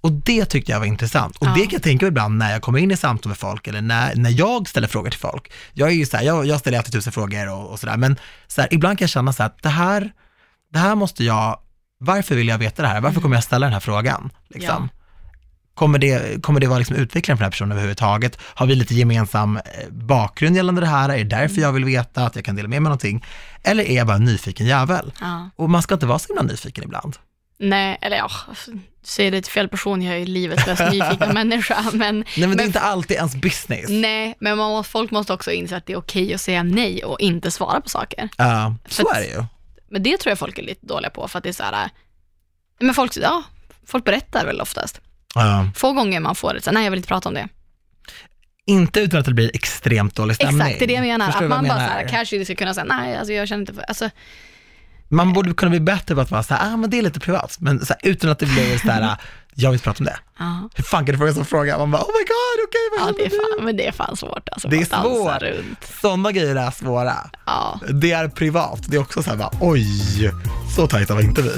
Och det tyckte jag var intressant. Och
Ja.
det kan jag tänka ibland när jag kommer in i samtal med folk eller när, när jag ställer frågor till folk. Jag är ju så här, jag, jag ställer alltid tusen frågor och, och sådär, men så här, ibland kan jag känna så här att det här, det här måste jag, varför vill jag veta det här? Varför kommer jag ställa den här frågan? Liksom? Kommer, det, kommer det vara liksom utvecklingen för den här personen överhuvudtaget? Har vi lite gemensam eh, bakgrund gällande det här? Är det därför jag vill veta att jag kan dela med mig någonting? Eller är jag bara en nyfiken jävel?
ja.
Och man ska inte vara så himla nyfiken ibland.
Nej, eller ja, säger det till fel person, jag är livets mest nyfikna människa, men
Nej men, det är inte alltid ens business.
nej, men man, måste- folk måste också inse att det är okej att säga nej och inte svara på saker.
Ja, så
För-
är det ju.
Men det tror jag folk är lite dåliga på för att det är så här, äh, men folk, ja, folk berättar väl oftast.
Ja.
Få gånger man får det, så här, nej jag vill inte prata om det.
inte utan att det blir extremt dålig stämning.
Exakt, det är det jag menar.
Förstår du
att
vad
man
jag
bara så
menar?
här, casually ska kunna säga, nej alltså jag känner inte för, alltså,
Man borde kunna bli bättre på att vara så här, ah, men det är lite privat, men så här, utan att det blir så här, jag vill inte prata om det.
ja.
Hur fan kan du fråga en sån fråga? Man bara, oh my god, okej, vad
Ja,
händer
det är
nu?
fan, men det är fan svårt alltså.
Det är
att dansa
svårt.
Runt.
Sådana grejer är svåra.
Ja.
Det är privat, det är också så här, bara, oj, så tajta var inte vi.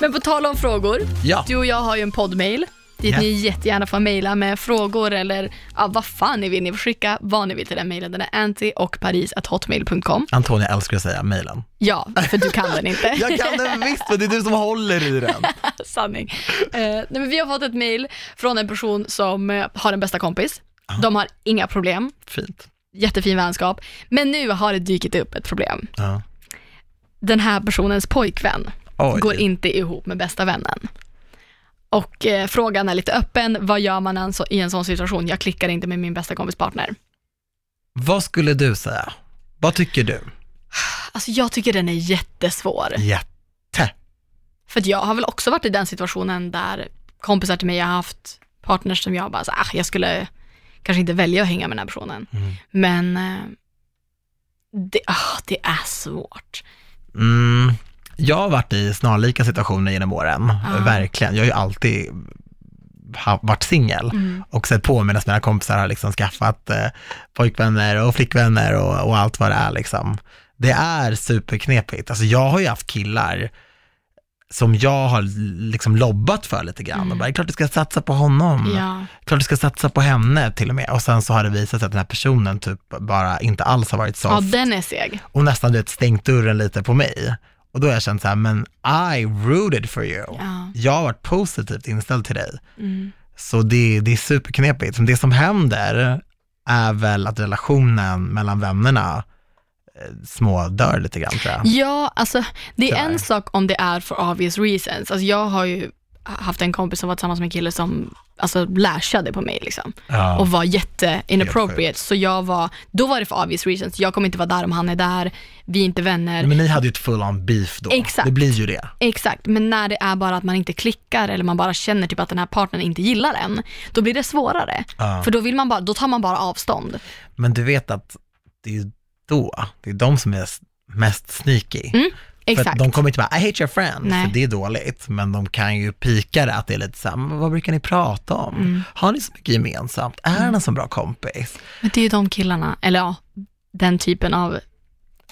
Men på tal om frågor,
Ja,
du och jag har ju en poddmail dit
Ja.
ni jättegärna får mejla med frågor eller ja, vad fan ni vill. Ni får skicka vad ni vill till den mejlen. Den är anti och paris.hotmail.com.
Antonija älskar att säga mejlen.
Ja, för du kan den inte.
Jag kan den visst, men det är du som håller i den.
Sanning. Eh, nej, men vi har fått ett mail från en person som eh, har en bästa kompis. De har inga problem,
Fint.
jättefin vänskap. Men nu har det dykt upp ett problem.
Ja.
Den här personens pojkvän
Oj.
går inte ihop med bästa vännen. Och eh, frågan är lite öppen, vad gör man en så, i en sån situation? Jag klickar inte med min bästa kompis partner.
Vad skulle du säga? Vad tycker du?
Alltså jag tycker den är jättesvår.
Jätte.
För att jag har väl också varit i den situationen där kompisar till mig har haft partners som jag bara, så, ah, jag skulle kanske inte välja att hänga med den här personen.
Mm.
Men eh, det, ah, det är svårt.
Mm, jag har varit i snarlika situationer genom åren,
Ja.
verkligen. Jag har ju alltid ha- varit singel
Mm.
och sett på medan mina kompisar har liksom skaffat eh, pojkvänner och flickvänner och, och allt vad det är liksom. Det är superknepigt. Alltså jag har ju haft killar som jag har liksom lobbat för lite grann och bara, det är klart du ska satsa på honom
Mm. Ja.
klart du ska satsa på henne till och med. Och sen så har det visat sig att den här personen typ bara inte alls har varit
ja,
soft
den är seg.
och nästan du vet, stängt dörren lite på mig. Och då har jag känt så här, men I rooted for you.
Ja.
Jag har varit positivt inställd till dig.
Mm.
Så det, det är superknepigt. Men det som händer är väl att relationen mellan vännerna eh, smådör lite grann tror jag.
Ja, alltså det är
Tyvärr.
en sak om det är for obvious reasons. Alltså jag har ju haft en kompis som var tillsammans med en kille som alltså lashade på mig liksom
Ja.
och var jätte
Helt
inappropriate. Så jag var, då var det för obvious reasons. Jag kommer inte vara där om han är där, vi är inte vänner.
Men ni hade ju ett full on beef då.
Exakt.
Det blir ju det.
Exakt, men när det är bara att man inte klickar eller man bara känner typ att den här partnern inte gillar en, då blir det svårare.
Ja.
För då, vill man bara, då tar man bara avstånd.
Men du vet att det är ju då, det är de som är s- mest sneaky. För att
Exakt.
de kommer inte bara, I hate your friend,
Nej.
för det är dåligt. Men de kan ju pika det att det är lite såhär, "Men vad brukar ni prata om?
Mm.
Har ni så mycket gemensamt? Är han en så bra kompis?
Men det är ju de killarna, eller ja, den typen av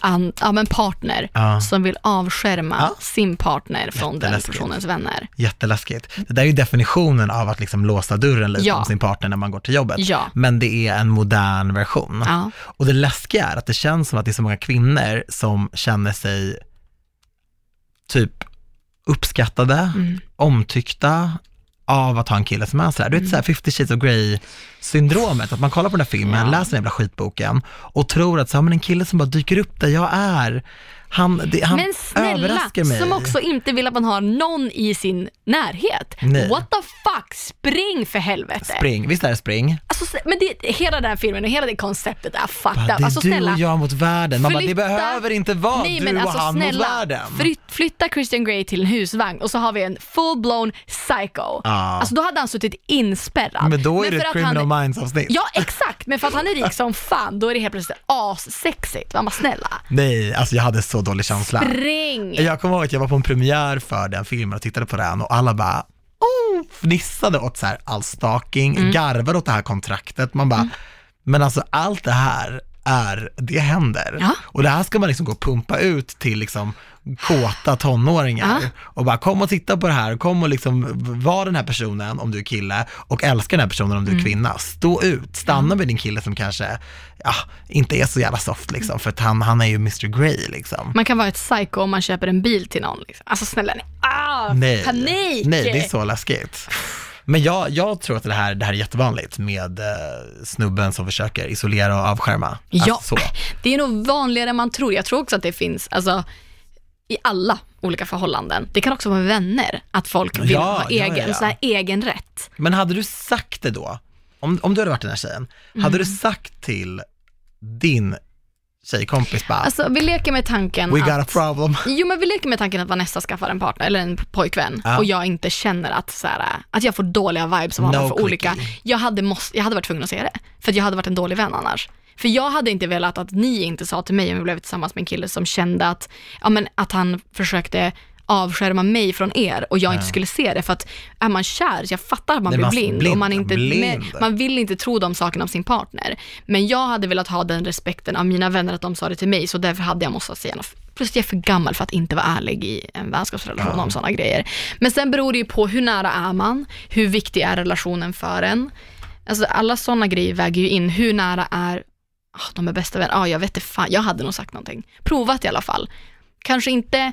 an, ja, men partner
Ja.
som vill avskärma
Ja.
sin partner från den
Jätteläskigt.
personens vänner.
Jätteläskigt. Det där är ju definitionen av att liksom låsa dörren lite
Ja.
om sin partner när man går till jobbet.
Ja.
Men det är en modern version.
Ja.
Och det läskiga är att det känns som att det är så många kvinnor som känner sig typ uppskattade,
Mm.
omtyckta av att ha en kille som är sådär. Du
Mm.
vet såhär 50 shades of grey-syndromet, att man kollar på den här filmen,
Ja.
läser den jävla skitboken och tror att så här, men en kille som bara dyker upp där jag är, han, det, han
Men snälla,
överraskar mig.
som också inte vill att man har någon i sin närhet.
Nej.
What the fuck, spring för helvete.
Spring, visst är det spring?
Alltså, se- men det, hela den här filmen och hela det konceptet är
Bara,
fucked
det
up.
är
Alltså
du
snälla,
och jag mot världen. Man bara, det
flytta-
behöver inte vara
Nej,
du
men
och
alltså,
han
snälla,
mot världen.
flyt- flytta Christian Grey till en husvagn och så har vi en full-blown psycho. Alltså då hade han suttit inspärrad.
Men då är det
för
ett
att han-
criminal minds avsnitt.
Ja exakt, men för att han är rik som fan då är det helt plötsligt assexigt. Man bara snälla,
Nej, alltså jag hade så dålig känsla.
spring!
Jag kommer ihåg att jag var på en premiär för den filmen och tittade på den och alla bara oh, fnissade åt så här all stalking,
Mm.
garvade åt det här kontraktet. Man bara, men alltså allt det här är, det händer.
Ja.
Och det här ska man liksom gå och pumpa ut till liksom kåta tonåringar
Ja.
och bara kom och titta på det här, kom och liksom var den här personen om du är kille och älska den här personen om du är
Mm.
kvinna. Stå ut, stanna med din kille som kanske ja, inte är så jävla soft liksom för att han, han är ju Mr Grey liksom.
Man kan vara ett psycho om man köper en bil till någon. Liksom. Alltså snälla, nej. Ah,
Nej.
panik!
Nej, det är så läskigt. Men jag, jag tror att det här, det här är jättevanligt med eh, snubben som försöker isolera och avskärma.
Ja,
Alltså, så.
det är nog vanligare än man tror. Jag tror också att det finns alltså, i alla olika förhållanden. Det kan också vara vänner, att folk vill
Ja,
ha
ja,
egen,
ja, ja.
Så här, egen rätt.
Men hade du sagt det då, om, om du hade varit den här tjejen, hade
Mm.
du sagt till din tjejkompis bara,
Alltså, vi leker med tanken
we
att...
got a problem.
Jo men vi leker med tanken att Vanessa skaffar en partner eller en pojkvän
Ja.
och jag inte känner att, så här, att jag får dåliga vibes av honom
No
för
clicky.
olika. Jag hade, måste, jag hade varit tvungen att säga det, för att jag hade varit en dålig vän annars. För jag hade inte velat att ni inte sa till mig om vi blev tillsammans med en kille som kände att, ja, men att han försökte avskärma mig från er och jag inte skulle se det. För att är man kär, jag fattar att man
Nej,
blir
man-
blind,
blind,
och man, inte,
blind.
men- man vill inte tro de sakerna om sin partner. Men jag hade velat ha den respekten av mina vänner att de sa det till mig, så därför hade jag måste säga något. Plus jag är för gammal för att inte vara ärlig i en vänskapsrelation om sådana grejer. Men sen beror det ju på hur nära är man, hur viktig är relationen för en. Alltså alla sådana grejer väger ju in, hur nära är ah, de är bästa vänner, ah, jag vet inte fan, jag hade nog sagt någonting. Provat i alla fall. Kanske inte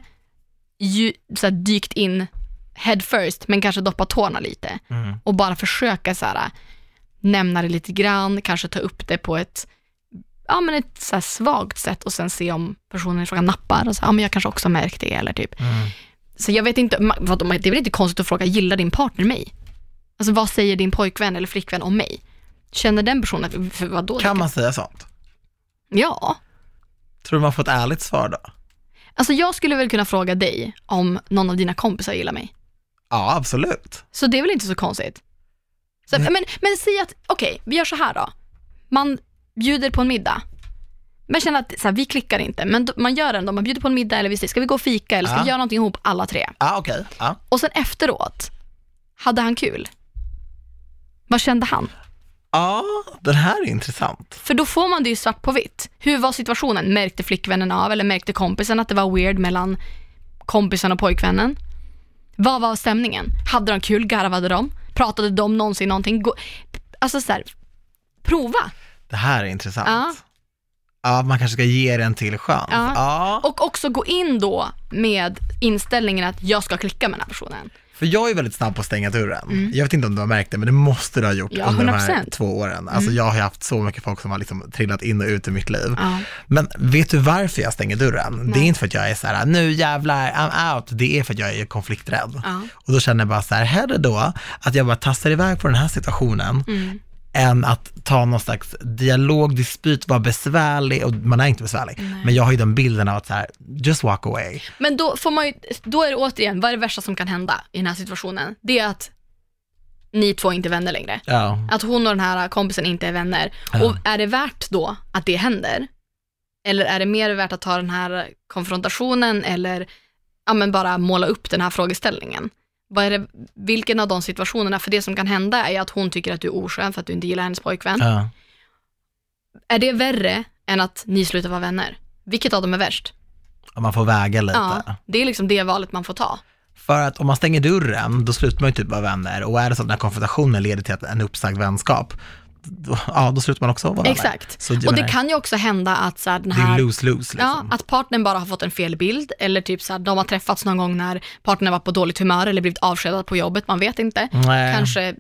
ju, så här, dykt in head first, men kanske doppa tårna lite. Och bara försöka så här, äh, nämna det lite grann, kanske ta upp det på ett, ja, men ett så här, svagt sätt och sen se om personen i fråga nappar. Och så, här, ja, men jag kanske också har märkt det. Eller typ. Så jag vet inte, ma- vadå, det är väl inte konstigt att fråga, gillar din partner mig? Alltså vad säger din pojkvän eller flickvän om mig? Känner den personen, att- för vadå?
Kan man säga sånt?
Ja.
Tror du man får ett ärligt svar då?
Alltså jag skulle väl kunna fråga dig om någon av dina kompisar gillar mig.
Ja, absolut.
Så det är väl inte så konstigt? Så, att- men, men säg att, okej, vi gör så här då. Man bjuder på en middag. Man känner att så här, vi klickar inte, men då- man gör ändå, man bjuder på en middag eller vi säger, ska vi gå och fika eller ska
Ja.
vi göra någonting ihop alla tre?
Ja, okej. Ja.
Och sen efteråt, hade han kul? Vad kände han?
ja, den här är intressant.
För då får man det ju svart på vitt. Hur var situationen? Märkte flickvännen av eller märkte kompisen att det var weird mellan kompisen och pojkvännen? Vad var stämningen? Hade de kul? Garvade de? Pratade de någonsin någonting? Gå- Alltså så här, prova.
Det här är intressant.
Ja.
Ja, man kanske ska ge den till chans.
Ja.
ja.
Och också gå in då med inställningen att jag ska klicka med den här personen.
För jag är väldigt snabb på att stänga dörren. Jag vet inte om du har märkt det, men det måste du ha gjort
Mm. Ja, Mm.
under de här
100%.
två åren. Alltså jag har ju haft så mycket folk som har liksom trillat in och ut i mitt liv.
Ja.
Men vet du varför jag stänger dörren? Det är
Nej.
inte för att jag är så här, nu jävlar, I'm out. Det är för att jag är konflikträdd.
Ja.
Och då känner jag bara så här, hellre då att jag bara tassar iväg på den här situationen,
Mm.
än att ta någon slags dialog, dispyt, vara besvärlig. Och man är inte besvärlig, men jag har ju den bilden av att så här, just walk away.
Men då får man ju, då är det återigen, vad är det värsta som kan hända i den här situationen? Det är att ni två inte är vänner längre.
Ja.
Att hon och den här kompisen inte är vänner.
Ja.
Och är det värt då att det händer? Eller är det mer värt att ta den här konfrontationen eller ja, men bara måla upp den här frågeställningen? Vad är det, vilken av de situationerna, för det som kan hända är att hon tycker att du är oskön för att du inte gillar hennes pojkvän.
Ja.
Är det värre än att ni slutar vara vänner? Vilket av dem är värst?
Och Man får väga lite.
Ja, det är liksom det valet man får ta.
För att om man stänger dörren, då slutar man ju typ vara vänner. Och är det så att den här konfrontationen leder till att en uppsagd vänskap, då, ja, då slutar man också vara vänner.
Exakt.
Så jag
Och det
menar,
kan ju också hända att så här, den
det är
här
lose-lose liksom.
Ja, att partnern bara har fått en fel bild eller typ så här, de har träffats någon gång när partnern var på dåligt humör eller blivit avskedad på jobbet, man vet inte.
Nej.
Kanske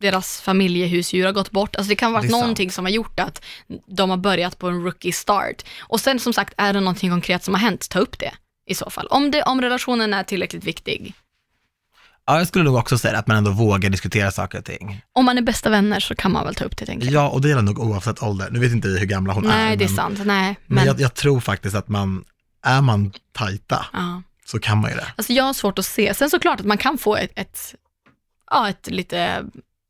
deras familjehusdjur har gått bort. Alltså det kan vara
Det är sant.
någonting som har gjort att de har börjat på en rookie start. Och sen som sagt, är det någonting konkret som har hänt, ta upp det i så fall. Om, det, om relationen är tillräckligt viktig.
Ja, jag skulle nog också säga att man ändå vågar diskutera saker och ting.
Om man är bästa vänner så kan man väl ta upp det tänker jag.
Ja, och det gäller nog oavsett ålder. Nu vet inte vi hur gamla hon är.
Nej, det är
men-
sant. Nej,
Men,
men...
jag, jag tror faktiskt att man, är man tajta
Ja.
så kan man ju det.
Alltså jag har svårt att se. Sen såklart att man kan få ett, ett, ja, ett lite,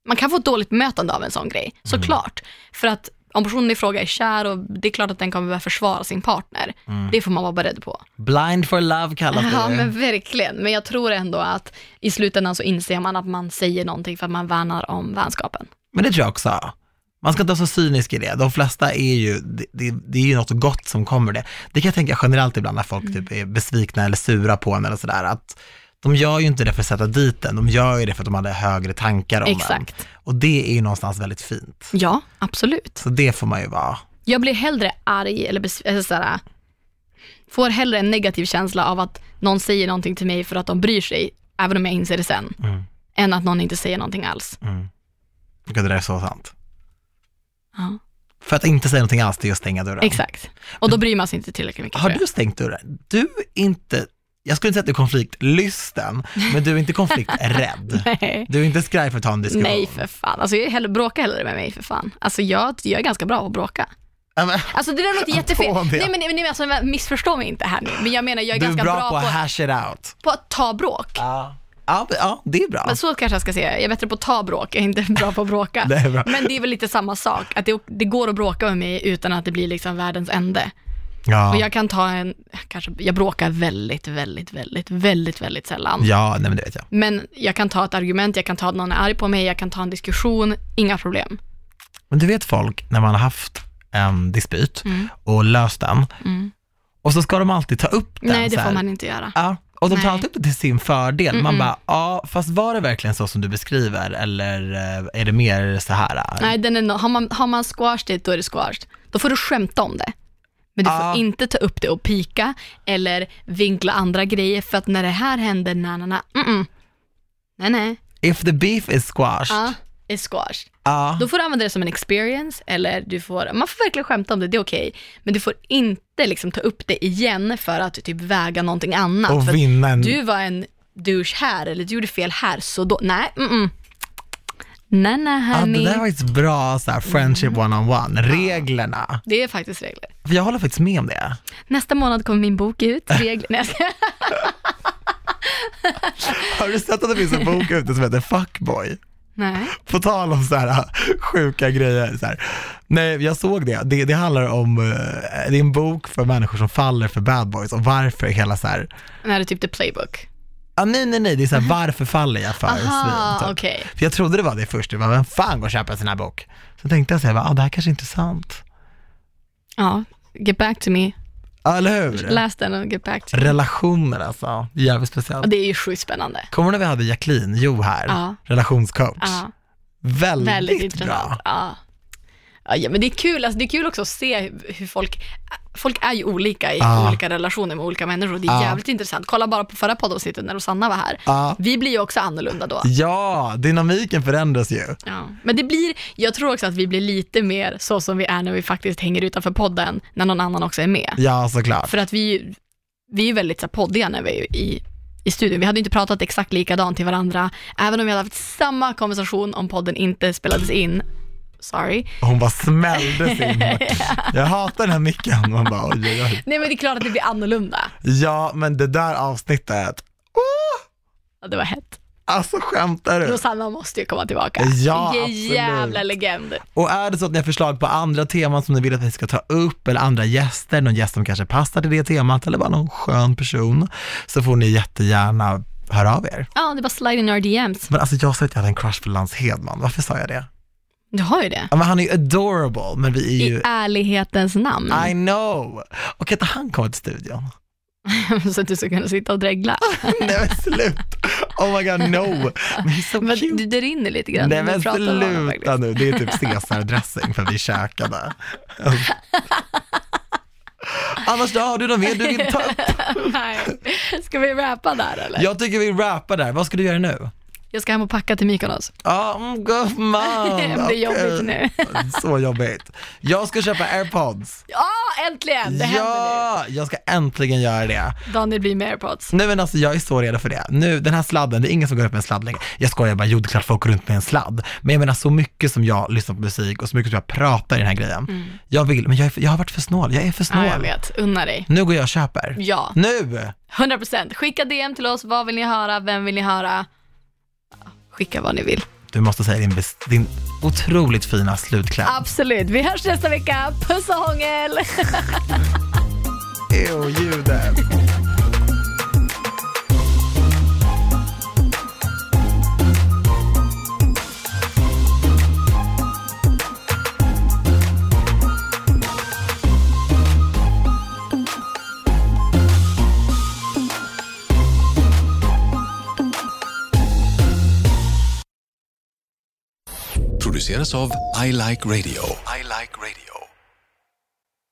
man kan få ett dåligt bemötande av en sån grej. Såklart. För att om personen i fråga är kär och det är klart att den kommer börja försvara sin partner. Det får man vara beredd på.
Blind for love kallas det
Ja
ju.
men verkligen. Men jag tror ändå att i slutändan så inser man att man säger någonting för att man värnar om vänskapen.
Men det tror jag också. Man ska inte vara så cynisk i det. De flesta är ju, det, det, det är ju något gott som kommer ur det. Det kan jag tänka generellt ibland när folk typ
Mm.
är besvikna eller sura på en eller sådär, att de gör ju inte det för att sätta dit en, de gör ju det för att de hade högre tankar om en.
Exakt.
Och det är ju någonstans väldigt fint.
Ja, absolut.
Så det får man ju vara.
Jag blir hellre arg eller bes- eller såhär, får hellre en negativ känsla av att någon säger någonting till mig för att de bryr sig, även om jag inser det sen,
Mm.
än att någon inte säger någonting alls.
Och mm. det där är så sant.
Ja.
För att inte säga någonting alls, det är att stänga dörren.
Exakt. Och då bryr man sig inte tillräckligt mycket.
Har
tror jag.
du stängt dörren? Du är inte, jag skulle inte säga att du är konfliktlysten, men du är inte konflikträdd.
Nej.
Du är inte skraj för att ta en diskussion.
Nej för fan, alltså jag är hellre, bråka hellre med mig för fan. Alltså jag, jag är ganska bra på att bråka.
Ja, men-
Alltså det där låter jättefel.
På det.
Nej men, nej, men alltså, missförstå mig inte här nu. Men jag menar jag är
du är
ganska
bra, på att
på,
hash it out.
på att ta bråk.
Ja, ja, men- ja det är bra.
Men så kanske jag ska säga, jag är bättre på att ta bråk, jag är inte bra på att bråka.
Det är bra.
Men det är väl lite samma sak, att det, det går att bråka med mig utan att det blir liksom världens ände.
ja.
Och jag kan ta en, kanske, jag bråkar väldigt, väldigt, väldigt, väldigt, väldigt sällan.
ja, nej men det vet jag.
Men jag kan ta ett argument, jag kan ta att någon är arg på mig, jag kan ta en diskussion, inga problem.
Men du vet folk, när man har haft en dispyt och löst den,
Mm.
och så ska de alltid ta upp den.
Nej, det
så här.
får man inte göra.
Ja, och de tar
Nej.
alltid upp det till sin fördel. Man bara, ja, fast var det verkligen så som du beskriver, eller eh, är det mer så här?
Nej, den är no- har, man, har man squash dit, då är det squash. Då får du skämta om det. Men du
Ah.
får inte ta upp det och pika eller vinkla andra grejer för att när det här händer, na, na, na, mm, mm. nej, nej,
If the beef is squashed,
ja, är squash.
ja.
Då får du använda det som en experience eller du får, man får verkligen skämta om det, det är okej. Men du får inte liksom ta upp det igen för att typ väga någonting annat.
och
för att
vinna en...
du var en douche här eller du gjorde fel här, så då, nej, mm, mm. Nej, nej,
Ja, det
hörni.
där var faktiskt bra så här, friendship
Mm.
one-on-one, reglerna.
Det är faktiskt regler.
För jag håller faktiskt med om det.
Nästa månad kommer min bok ut. Regler. Nej, jag skojar.
Har du sett att det finns en bok ute som heter Fuckboy?
nej.
På tal om så här äh, sjuka grejer. Så här. Nej, jag såg det. det. Det handlar om, eh, det är en bok för människor som faller för bad boys och varför hela så här,
Nej, det är typ the playbook.
ah, nej nej nej, det är så här, varför faller jag för
Aha,
svin? typ.
okej.
För jag trodde det var det först, det var vem fan går och köper en sån här bok? Så tänkte jag så här, va, ah, det här kanske är intressant.
Ja, get back to me.
Ja, eller hur?
Läs den och get back to me.
Relationer alltså, jävligt
Ja,
speciellt.
det är ju sjukt spännande.
Kommer du när vi hade Jacqueline Jo här,
Ja.
relationscoach?
Ja,
Väldigt,
väldigt
bra.
intressant. Ja. Ja, ja, men det är kul. Alltså, det är kul också att se hur- hur folk, folk är ju olika i
Ja.
olika relationer med olika människor. Det är
Ja.
jävligt intressant. Kolla bara på förra poddavsnittet när Rosanna var här.
Ja.
Vi blir ju också annorlunda då.
ja, dynamiken förändras ju.
Ja. Men det blir, jag tror också att vi blir lite mer så som vi är när vi faktiskt hänger utanför podden, när någon annan också är med.
Ja, såklart.
För att vi, vi är ju väldigt så här, poddiga när vi är i, i studion. Vi hade ju inte pratat exakt likadant till varandra, även om vi hade haft samma konversation om podden inte spelades in. Sorry.
Hon bara smällde sin Jag hatar den här micken. Man bara, oj, oj, oj.
Nej men det är klart att det blir annorlunda.
Ja, men det där avsnittet. Oh,
Ja, det var hett.
alltså skämtar du?
Rosanna måste ju komma tillbaka.
Ja,
Vilken
absolut.
jävla legend.
Och är det så att ni har förslag på andra teman som ni vill att vi ska ta upp eller andra gäster, någon gäst som kanske passar till det temat eller bara någon skön person, så får ni jättegärna höra av er.
Ja, det var slide in our DMs.
Men alltså jag sa att jag hade en crush för Lance Hedman, varför sa jag det?
Du har ju det.
Ja, men han är ju adorable, men vi är ju...
I ärlighetens namn.
I know! Och kan inte han komma till studion?
så att du ska kunna sitta och dregla.
Nej men slut! Oh my god no! Men he's so
Men
cute!
du, det rinner lite grann.
Nej
när
men
du pratar om honom
sluta
faktiskt.
nu, det är typ Caesar-dressing för vi käkade. Alltså. Annars då, har du något mer du vill ta upp?
Nej. Ska vi rappa där eller?
Jag tycker vi rappar där, vad ska du göra nu?
Jag ska hem och packa till Mykonos.
Ja, mm, gumman!
det blir
okej.
jobbigt nu.
Så jobbigt. Jag ska köpa airpods.
Ja, äntligen! Det händer
ja, jag ska äntligen göra det.
nu. Daniel blir med airpods.
Nej men alltså jag är så redo för det. Nu, den här sladden, det är ingen som går upp med en sladd längre. Jag skojar bara, jo det är klart folk går runt med en sladd. Men jag menar så mycket som jag lyssnar på musik och så mycket som jag pratar i den här grejen. Jag vill, men jag, är, jag har varit för snål, jag är för
Mm. Ja, jag
snål.
vet. Unna dig.
nu går jag och köper.
Ja,
Nu!
100%. Skicka DM till oss. Vad vill ni höra? Vem vill ni höra? Ja, Skicka vad ni vill.
Du måste säga din, bes- din otroligt fina slutkläm.
Absolut. Vi hörs nästa vecka. Puss och hångel!
Ew, ljudet.
produceras av I Like Radio. I like radio.